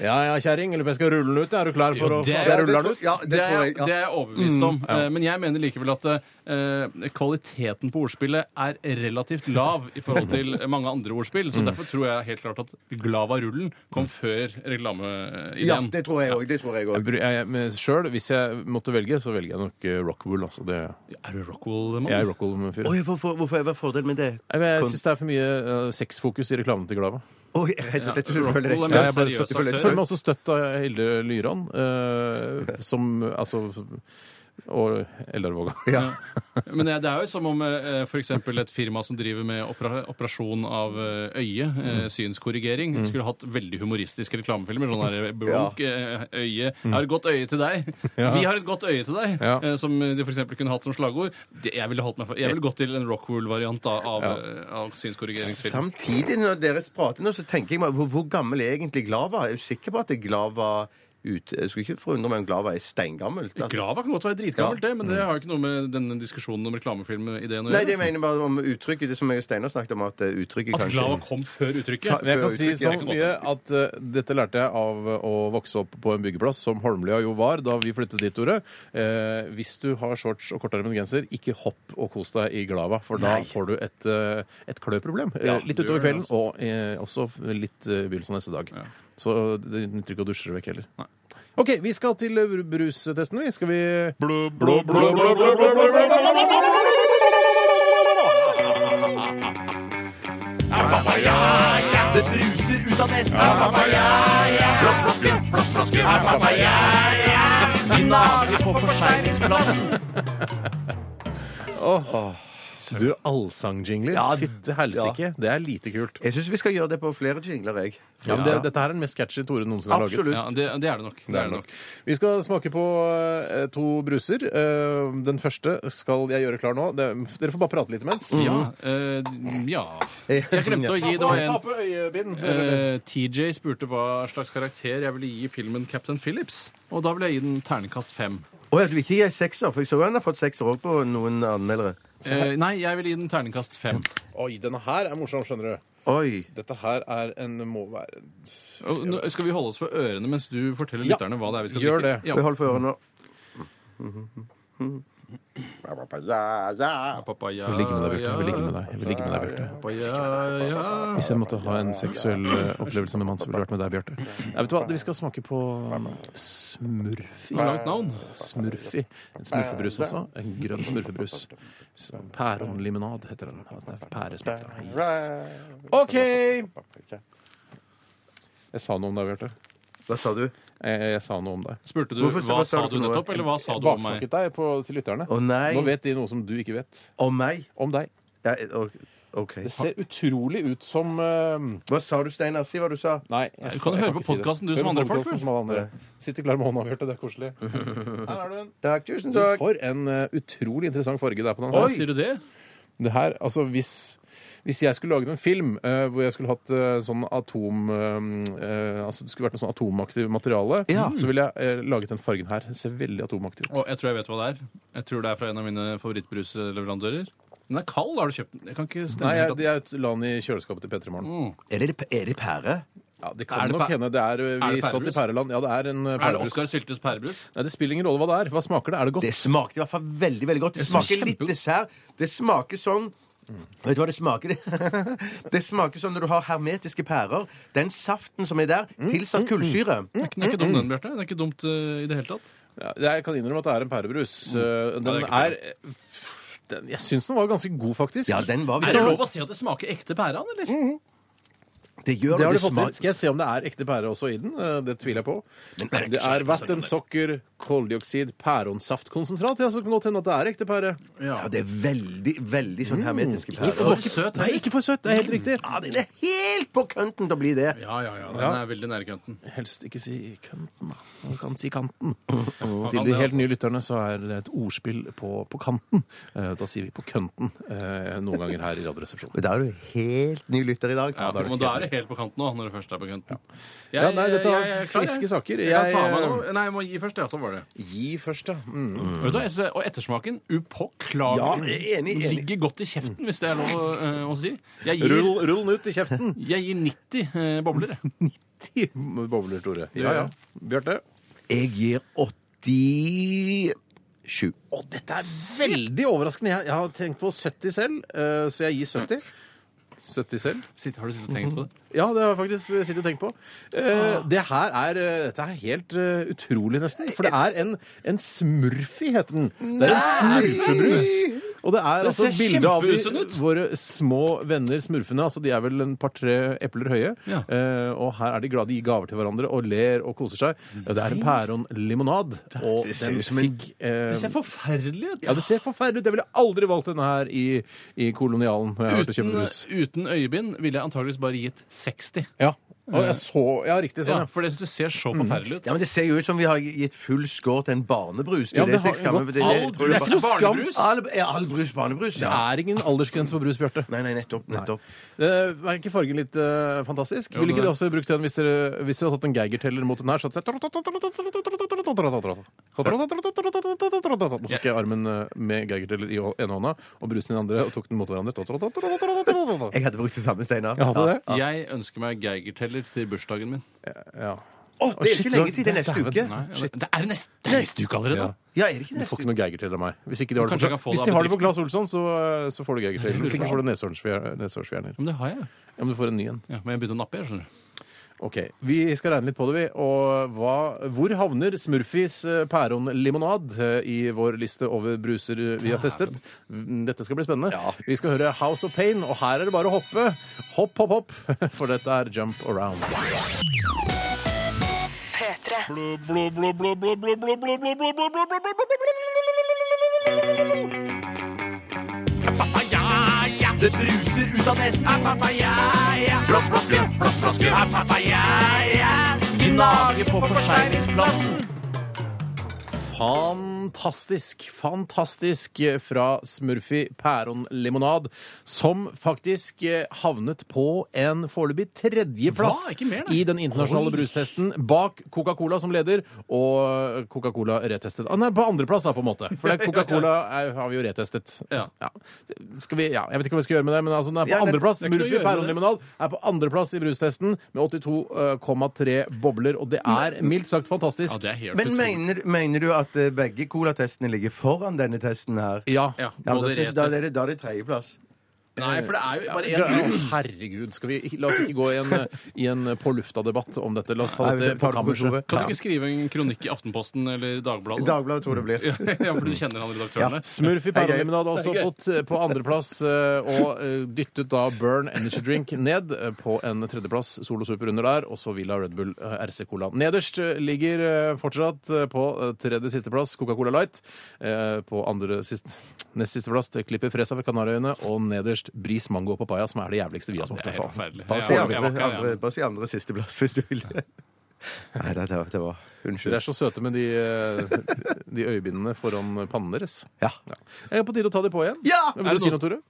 Ja ja, kjerring, jeg lurer på om jeg skal rulle den ut. Er du klar for å det er- få jeg ruller den ut? Ja, Mm. det Det er, tror jeg. jeg- det er jeg overbevist om. Eh, Men jeg mener likevel at eh, kvaliteten på ordspillet er relativt lav i forhold til mange andre ordspill. Mm. Så derfor tror jeg helt klart at Glava-rullen kom før eh, Ja, reklameideen. det tror jeg òg. Det tror jeg Jeg òg. bry- jeg- men Sjøl, hvis jeg måtte velge, så velger jeg nok eh, Rockwool. Altså, det, Er du Rockwell-mann? jeg er Rockwool-fyr. Oi, hvorfor, hvorfor hva er fordelen med det? Nei, men Jeg syns det er for mye eh, sexfokus i reklamen til Glava. Oi, rett og slett, du Ja, føler deg Rockwool er Ja, støtt. mer jeg bare seriøs støtter, aktør. føler meg også støtt av Hilde Lyran, eh, som altså Og Eldar Våga. Men det det er jo som om eh, for eksempel et firma som driver med opera operasjon av eh, øye, eh, synskorrigering, skulle hatt veldig humoristiske reklamefilmer. Sånn der eh, Bronk, eh, øye Jeg har et godt øye til deg. Vi har et godt øye til deg. Ja. eh, Som de for eksempel kunne hatt som slagord. Det, jeg ville holdt meg for Jeg ville gått til en Rockwool-variant da, av, eh, av synskorrigeringsfilm. Samtidig, når dere prater nå, så tenker jeg meg hvor, hvor gammel er egentlig Glava? Jeg er jo sikker på at det er Glava ut... Jeg skulle ikke forundre meg om Glava er steingammelt. At- Grava kan godt være dritgammelt, det, men det har jo ikke noe med denne diskusjonen om reklamefilm-ideen å Nei, det gjøre. mener jeg bare om uttrykket, det som jeg og Steinar snakket om, at eh, uttrykket At kanskje Glava kom før uttrykket. Fa- Men jeg kan si uttrykket så er ikke mye at eh, dette lærte jeg av eh, å vokse opp på en byggeplass, som Holmlia jo var da vi flyttet dit, Tore. Eh, hvis du har shorts og kortarmet genser, ikke hopp og kos deg i glava, for da får du et, eh, et kløproblem. Eh, Ja, litt du utover gjør det, kvelden, altså. og eh, også litt eh, i begynnelsen av neste dag. Ja. Så det nytter ikke å dusje det vekk heller. Nei. OK, vi skal til eh, br- brustesten, vi. Skal vi Du, allsangjingler. Fytte helsike. Det er lite kult. Jeg syns vi skal gjøre det på flere jingler, jeg. Ja, men det, dette her er den mest catchy Tore noensinne har laget. Absolutt. Ja, det, det er det nok. Det er det nok. Vi skal smake på eh, to bruser. Eh, Den første skal jeg gjøre klar nå. Det, dere får bare prate litt imens. Ja. eh, ja. Jeg glemte å gi det var en på øyebind. eh, TJ spurte hva slags karakter jeg ville gi filmen Captain Phillips. Og da ville jeg gi den terningkast fem. Å, jeg vil ikke gi sekser, for jeg så han har fått sekser òg på noen anmeldere. Eh, nei, jeg ville gi den terningkast fem. Oi, denne her er morsom, skjønner du. Oi. Dette her er en må være Og nå skal vi holde oss for ørene mens du forteller Ja. lytterne hva det er vi skal Gjør drikke? det. Ja. Vi holder for ørene nå. Papaya, Jeg vil ligge med deg, Bjarte. Jeg vil ligge med deg, Jeg vil ligge med deg, Bjarte. Papaya, ja. Hvis jeg måtte ha en seksuell eh, opplevelse med en mann, så ville det vært med deg, Bjarte. Nei, vet du hva, vi skal smake på smurfi. Langt navn. Smurfi. En smurfebrus også. En grønn smurfebrus. Pæronlimonad heter den. Altså, det er Pæresmak. da. Yes. OK! Jeg sa noe om deg, Bjarte. Hva sa du? Jeg, jeg sa noe om deg. Spurte du Hvorfor- hva hva sa sa du du for noe? nettopp, eller hva sa du om meg? Baksnakket deg på, til lytterne. Å nei. Nå vet de noe som du ikke vet Om meg? om deg. Ja, og- OK. Det ser utrolig ut som eh, Hva sa du, Steinar? Si hva du sa. Nei. jeg Nei, du sa- kan jo jeg høre på ikke si det. podcasten, du, Hør som på andre folk, podcasten vel? som alle andre. Sitter klar med hånda avhørt, det er koselig. Her er du en. Takk, tusen Du, takk. for en eh, utrolig interessant farge det er på den Hva her. sier du det? Det her, altså hvis... Hvis jeg skulle laget en film eh, hvor jeg skulle hatt eh, sånn atom... eh, eh, altså det skulle vært noe sånn atomaktiv materiale, så ville jeg eh, laget den fargen her. Den ser veldig atomaktiv ut. Å, jeg tror jeg vet hva det er. Jeg tror det er fra en av mine favorittbrusleverandører. Den er kald, har du kjøpt den? Jeg kan ikke stemme Nei, jeg, helt at- jeg la den i kjøleskapet til P3 Morgen. Er det, er det pære? Ja, det kan Mm. Er det nok pæ- hende. Det er, eh, Er vi det skal til pærebrus? Pæreland. Ja, det er en eh, Er det pærebrus. Oskar Syltes pærebrus? Nei, det spiller ingen rolle hva det er. Hva smaker det? Er det godt? Det smakte i hvert fall veldig veldig godt. Det smaker litt kjempegodt. dessert. Det smaker sånn Vet du hva det smaker? det smaker sånn når du har hermetiske pærer. Den saften som er der, tilsatt kullsyre. Den er ikke Mm. dum, den, Bjarte. Den er ikke dumt eh, i det hele tatt. Ja, jeg kan innrømme at det er en pærebrus. Eh, Den Nei, Mm. det er ikke er, den, Jeg syns den var ganske god, faktisk. Ja, den var Er det visst- lov å si at det smaker ekte pære av den, Mm. eller? Det gjør det har det. de fått til. smaker- Skal jeg se om det er ekte pære også i den? Eh, Det tviler jeg på. er det ikke Det er sant, vann, sukker, koldioksid, pæronsaftkonsentrat. Ja, så kan det godt hende at det er ekte pære. Ja, det er veldig, veldig sånn hermetiske for pærer. søt. Nei, ikke for søtt. Det er helt riktig. Ja, den er helt på kønten til å bli det. Ja, ja, ja. Den Ja. er veldig nære kanten. Helst ikke si kanten, da. Man kan si kanten. kan Til de det, helt altså. nye lytterne så er det et ordspill på, på kanten. Eh, Da sier vi på kønten eh, noen ganger her i Radioresepsjonen. Men da er du helt ny lytter i dag. Ja, da er du men da er det helt på kanten nå, når det først er på kanten. Jeg, Ja, nei, dette var jeg- jeg er klar, jeg. friske saker. Jeg, kan Jeg, ta eh, meg nå. Nei, jeg må gi først, ja. Sånn var det. Gi først, ja. Mm. Vet du hva, jeg synes- Og ettersmaken, Ja, upåklagelig. jeg er enig, enig. Ligger godt i kjeften, hvis det er lov å, eh, å si. Jeg gir, Rull, rull den ut i kjeften. jeg gir 90 eh, bobler, jeg. Ti bobler, Tore. Ja, ja. Bjarte? Jeg gir 87. Å, dette er veldig overraskende. Jeg, jeg har tenkt på 70 selv, eh, så jeg gir 70. 70 selv? Sitt- Har du sittet og tenkt på det? Ja, det har jeg faktisk eh, sittet og tenkt på. Ah. Eh, det her er, eh, dette er helt eh, utrolig, nesten. For det er en, en smurfi, heter den. Det er en smurfebrus. Og det er altså ser bilde av kjempeusunn ut. de, våre små venner smurfene. altså De er vel en par-tre epler høye. Ja. Eh, og her er de glade. De gir gaver til hverandre og ler og koser seg. Ja, det er en pæronlimonad. Og Mm. Det ser den ut som en- fikk eh, Det ser forferdelig ut. Ja, det ser forferdelig ut. Jeg ville aldri valgt denne her i, i kolonialen. når Jeg har vært og Uten, kjøpt brus. uten øyebind ville jeg antageligvis bare gitt 60. Ja. Og jeg så, ja, riktig sånn, Ja, ja. for det, det ser så forferdelig ut. Ja, men Det ser jo ut som vi har gitt full score til en barnebrus. Ja, er men det som er har- skammen, godt. for All brus jeg tror det er bare- ikke noe skam. All, er all brus barnebrus? Det Ja. er ingen aldersgrense på brus, Bjarte. Nei, nei, nettopp. nettopp. Eh, Er ikke fargen litt eh, fantastisk? Ville ikke det er. dere også brukt den hvis dere, hvis dere hadde tatt en Geiger-teller mot den her? Så at Nå tok jeg armen eh, med Geiger-teller i ene hånda og brusen i den andre og tok den mot hverandre. Jeg hadde brukt det samme, Steinar. Jeg hadde det. Jeg ønsker meg Geigerteller til bursdagen min. Ja. Å, det er ikke Shit, lenge til. Det er neste dæven. uke. Nei, ja, det er neste, det er neste uke allerede. Ja. Ja, er det ikke Du neste får uke? ikke noe Geigerteller av meg. Hvis, ikke de har det Kanskje jeg på, kan få hvis det de av har det på Claes bedriften. Olsson, så, eh, så får du Geigerteller. Hvis ikke får du neshårsfjer- neshårsfjerner. Men det har jeg. Ja, men du får en ny en. Ja, men jeg begynte å nappe, jeg, skjønner du. Ok, Vi skal regne litt på det, vi. Og hva, hvor havner Smurfis eh, pæronlimonad eh, i vår liste over bruser vi har testet? Mm, Dette skal bli spennende. Vi skal høre House of Pain, og her er det bare å hoppe. Hopp, hopp, hopp, for dette er Jump Around. P3. Fantastisk, fantastisk eh, fra Smurfy pæronlimonad, som faktisk eh, havnet på en foreløpig Hva? tredjeplass Ikke mer, nei. i den internasjonale brustesten, bak Coca-Cola som leder, og Coca-Cola retestet. Ah, nei, på andreplass, da, på en måte. For det er Coca-Cola er- har vi jo retestet. Ja. Skal vi, ja, jeg vet ikke hva vi skal gjøre med det, men altså, den er på Ja, det- andreplass. det er ikke noe å Smurfy gjøre med det. pæronlimonad er på andreplass i brustesten med 82,3 bobler, og det er mildt sagt fantastisk. Ja, det er helt Men utrolig. mener, mener du at eh, begge Cola-testene ligger foran denne testen her. Ja. Ja, Ja, men da, synes, moderert jeg- da, er test. det, da er det tredjeplass. Nei, for det er jo bare Ja, én brus. Herregud, skal vi, la oss ikke gå i en, i en på lufta-debatt om dette. La oss ta Nei, vi dette på tar det på kammerset. kontoret. Kan du ikke skrive en kronikk i Aftenposten eller Dagbladet? Dagbladet tror det blir. Ja, for du kjenner han redaktørene. Smurf i pærelimonade også Det er gøy. på, t- på andreplass, eh, og eh, dyttet da Burn Energy Drink ned eh, på en tredjeplass. Solo Super under der, og så Villa Red Bull eh, RC Cola. Nederst eh, ligger eh, fortsatt eh, på eh, tredje sisteplass Coca-Cola Light. eh, På andre sist, nest sisteplass Klipper Fresa fra Kanariøyene, og nederst Bris Mango og Papaya, som er det jævligste vi har smakt. Det er i hvert helt fall. forferdelig. Si Jeg- jeg var andre, ikke her, jeg. andre, bare si andre sisteplass, hvis du vil. Nei, det, det, var- det var Unnskyld. Dere er så søte med de, eh, de øyebindene foran pannen deres. Ja. Jeg er på tide å ta de på igjen. Ja! Vil Er du det si noe, noe- Tore?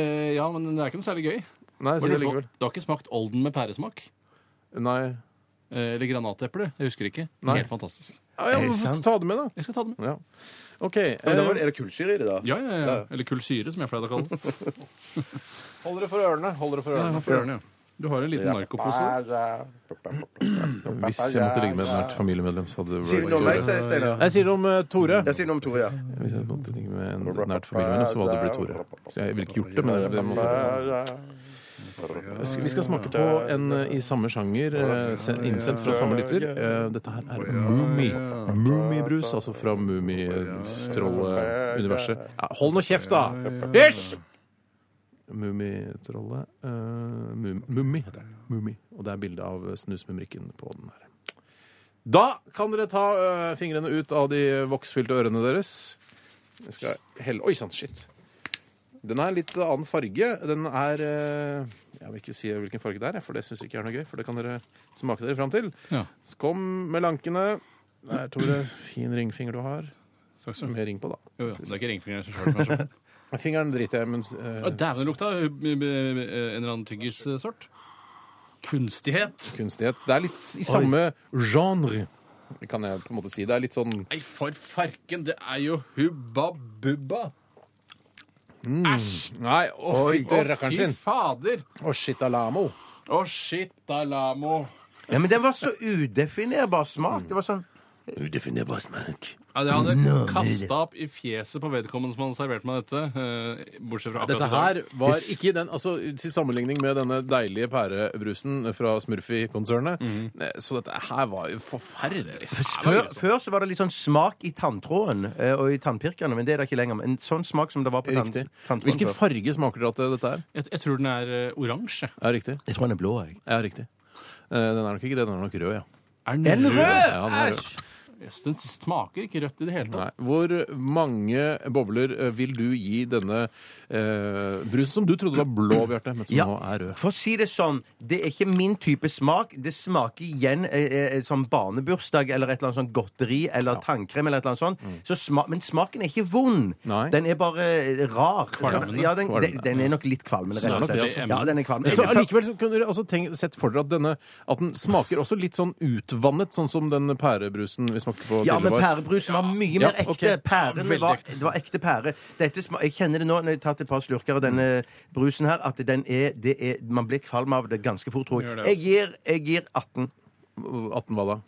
Eh, ja, men det er ikke noe særlig gøy. sånn? Nei, si Har det du, likevel. du har ikke smakt Olden med pæresmak? Nei. Eh, Eller granateple? Jeg husker ikke. Nei. Helt fantastisk. Ja, ja, Er det men sant? ta det med, da. Jeg skal ta det med. Ja. OK. Eh, Men da var, er det kullsyre i det, da? Ja, ja, ja. Eller kullsyre, som jeg pleide å kalle det. hold dere for ørene. Hold dere for Ja, hva ørene. får jeg den, ja. Du har en liten narkopose. der. Hvis jeg måtte ligge med et nært familiemedlem, så hadde det Sier du noe om meg, sier Steinar? Jeg sier det om eh, Tore. Jeg sier noe om Tore, ja. Hvis jeg måtte ligge med en nært familiemedlem, så hadde det blitt Tore. Så jeg ville ikke gjort det, men det, det måtte jeg gjort. Vi skal smake på en eh, i samme sjanger, eh, se- innsendt fra samme lytter. Eh, Dette her er Mumi. Mumibrus, altså fra Mumitroll-universet. Ja, hold nå kjeft, da! Hysj! Mummitrollet eh, mum, Mummi heter den. Mummi. Og det er bilde av snusmumrikken på den her. Da kan dere ta eh, fingrene ut av de voksfylte ørene deres. Jeg skal helle Oi sann, shit. Den er litt annen farge. Den er eh, Jeg vil ikke si hvilken farge det er, for det syns jeg ikke er noe gøy. For det kan dere smake dere fram til. Ja. Så Kom med lankene. Der, Tore. Fin ringfinger du har. Takk skal du ha. Med ring på, da. Jo, ja. Det er ikke ringfingeren i seg selv, kanskje. Fingeren driter jeg i, men eh, Å, Dæven, det lukta eh, en eller annen tyggissort. Kunstighet. kunstighet. Det er litt i samme genre, kan jeg på en måte si. Det er litt sånn Nei, for farken, det er jo hubba bubba. Æsj! Nei, å fy Å, til Mm. rakkeren fy sin! fader! Å, shit alamo. Å, shit, alamo. ja. Men den var så udefinerbar smak. Det var sånn Udefinerbar smak. Ja, det hadde kasta opp i fjeset på vedkommende som hadde servert meg dette. eh, Bortsett fra akkurat Dette i dag. her var ikke den altså Til sammenligning med denne deilige pærebrusen fra Smurfy-konsernet. eh, Så dette her var jo forferdelig. før, før så var det litt sånn smak i tanntråden eh, og i tannpirkerne, men det er det ikke lenger. En sånn smak som det var på tann, Riktig. tanntråden Hvilken før. farge smaker dere at det- dette er? Jeg, jeg tror den er eh, oransje. Er riktig? Jeg tror den er blå, jeg. Ja, riktig. Eh, Den er nok ikke det, den er nok rød, ja. Er Er den rød? ja den er rød. Jøss, den smaker ikke rødt i det hele tatt. Nei. Hvor mange bobler eh, vil du gi denne eh, brusen som du trodde var blå, Bjarte, men som Ja. nå er rød? For å si det sånn, det er ikke min type smak. Det smaker igjen eh, eh, som barnebursdag eller et eller annet sånn godteri eller tannkrem eller et eller annet sånt. Så sma men smaken er ikke vond. Nei. Den er bare eh, rar. Kvalmende. Ja, den, Kvalmende. den, den er nok litt kvalmende, Så er rett og nok det, altså. slett. Ja, den er Men kvalmende. så allikevel så kunne dere også tenkt, sett for dere at, denne, at den smaker også litt sånn utvannet, sånn som den pærebrusen vi smakte på Ja, tidligere. men var. pærebrusen var mye Ja, mer ekte. ok. Pæren Veldig var, ekte. det var ekte pære. Dette sma jeg kjenner det nå når jeg har tatt et par slurker av denne brusen her, at den er, det er Man blir kvalm av det ganske fort, tror Gjør det, jeg. Jeg gir, jeg gir 18 18 hva da?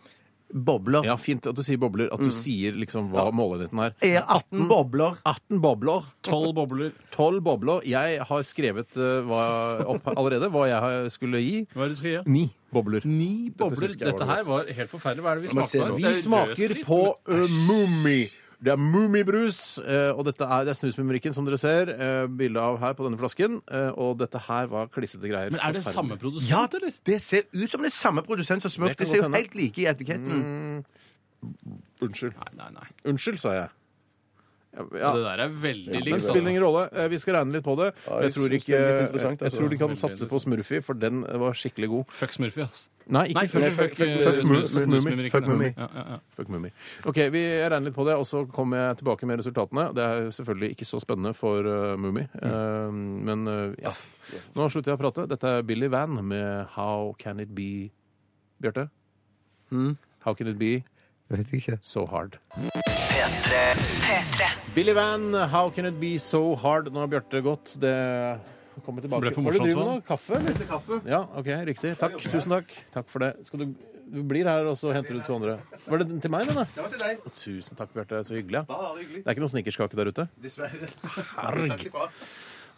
bobler. Ja, fint at du sier bobler, at du sier liksom hva målenheten er. Jeg gir 18 bobler. 18 bobler. Tolv bobler. 12 bobler. Jeg har skrevet eh, hva, opp allerede hva jeg har- skulle gi. Hva er det du skal gi? 9 bobler. Ni bobler. synes Dette, jeg var her var helt forferdelig. Hva er det vi må se smaker? nå. på? Vi Det er smaker løsfritt, på uh, Mummi. Det er Mummibrus, eh, og dette er, det er snusmumrikken som dere ser eh, bilde av her på denne flasken. eh, Og dette her var klissete greier. Men er det Forferdelig. samme produsent, Ja, eller? det ser ut som det er samme produsent som Smurf. Det kan Det ser godt jo hende. Mm. helt like i etiketten. Unnskyld. Nei, nei, nei. Unnskyld, sa jeg. Ja, ja. Det der er veldig Men likt. spiller Altså. ingen rolle. Eh, Vi skal regne litt på det. Ja, jeg Jeg tror synes ikke, det er litt jeg, interessant, altså. tror de kan Veldig satse på Smurfy, for den var skikkelig god. Fuck Smurfy, ass. Nei, Nei, ikke fuck, fuck, fuck, eh, fuck, snus- Mummi. snusmumrikken, Fuck ja. Mummi. Ja, ja, ja. Fuck Mummi. OK, vi regner litt på det, og så kommer jeg tilbake med resultatene. Det er selvfølgelig ikke så spennende for uh, Mummi, eh, men eh, ja. Nå slutter jeg å prate. Dette er Billy Van med How Can It Be Bjarte? How Can It Be Mm. Vet ikke. So Hard? P3. Billy Van, How Can It Be So Hard? Nå har Bjarte gått. Det kommer tilbake. Ble for Hva er det du morsomt, driver med hva? nå? Kaffe? eller? Ja, OK, riktig. Takk. Tusen takk. Takk for det. Skal du Du blir her, og så henter du 200. Var det den til meg, den, da? Det var til deg. Tusen takk, Bjarte. Så hyggelig. ja. Bare hyggelig. Det er ikke noen snickerskake der ute? Dessverre. Herregud.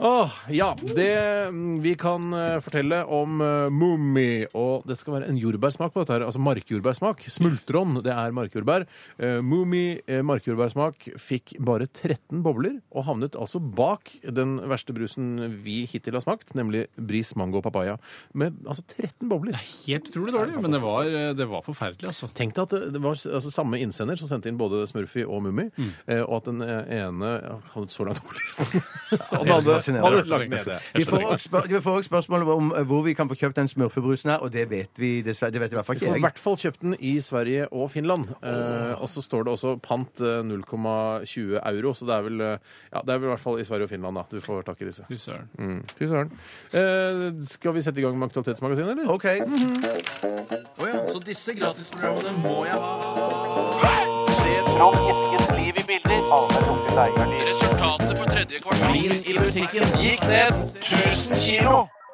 Åh, ja, det mm, vi kan eh, fortelle om uh, Mummi, og det skal være en jordbærsmak på dette her, altså markjordbærsmak. Smultron, det er markjordbær. Uh, Mummi, eh, markjordbærsmak, fikk bare 13 bobler, og havnet altså bak den verste brusen vi hittil har smakt, nemlig Bris Mango Papaya, med altså 13 bobler. Helt utrolig dårlig, men det var, det var forferdelig, altså. Tenk deg at det- det var altså, samme innsender som sendte inn både Smurfy og Mummi, Mm. eh, og at den eh, ene hadde så langt på listen. Og den andre fascinerende. hadde lagt ned det. Vi får også spør- vi får også spørsmål om eh, hvor vi kan få kjøpt den smurfebrusen her, og det vet vi dessverre det vet i hvert fall Du får i ikke jeg. hvert fall kjøpt den i Sverige og Finland. Eh, og så står det også pant eh, 0,20 euro, så det er vel eh, ja, det er vel i hvert fall i Sverige og Finland da, du får tak i disse. Fy søren. Mm. Fy søren. Eh, skal vi sette i gang med Aktualitetsmagasinet, eller? OK. Så disse gratisprogrammene må jeg ha. Resultatet på tredje kvartal i musikken gikk ned 1000 kilo.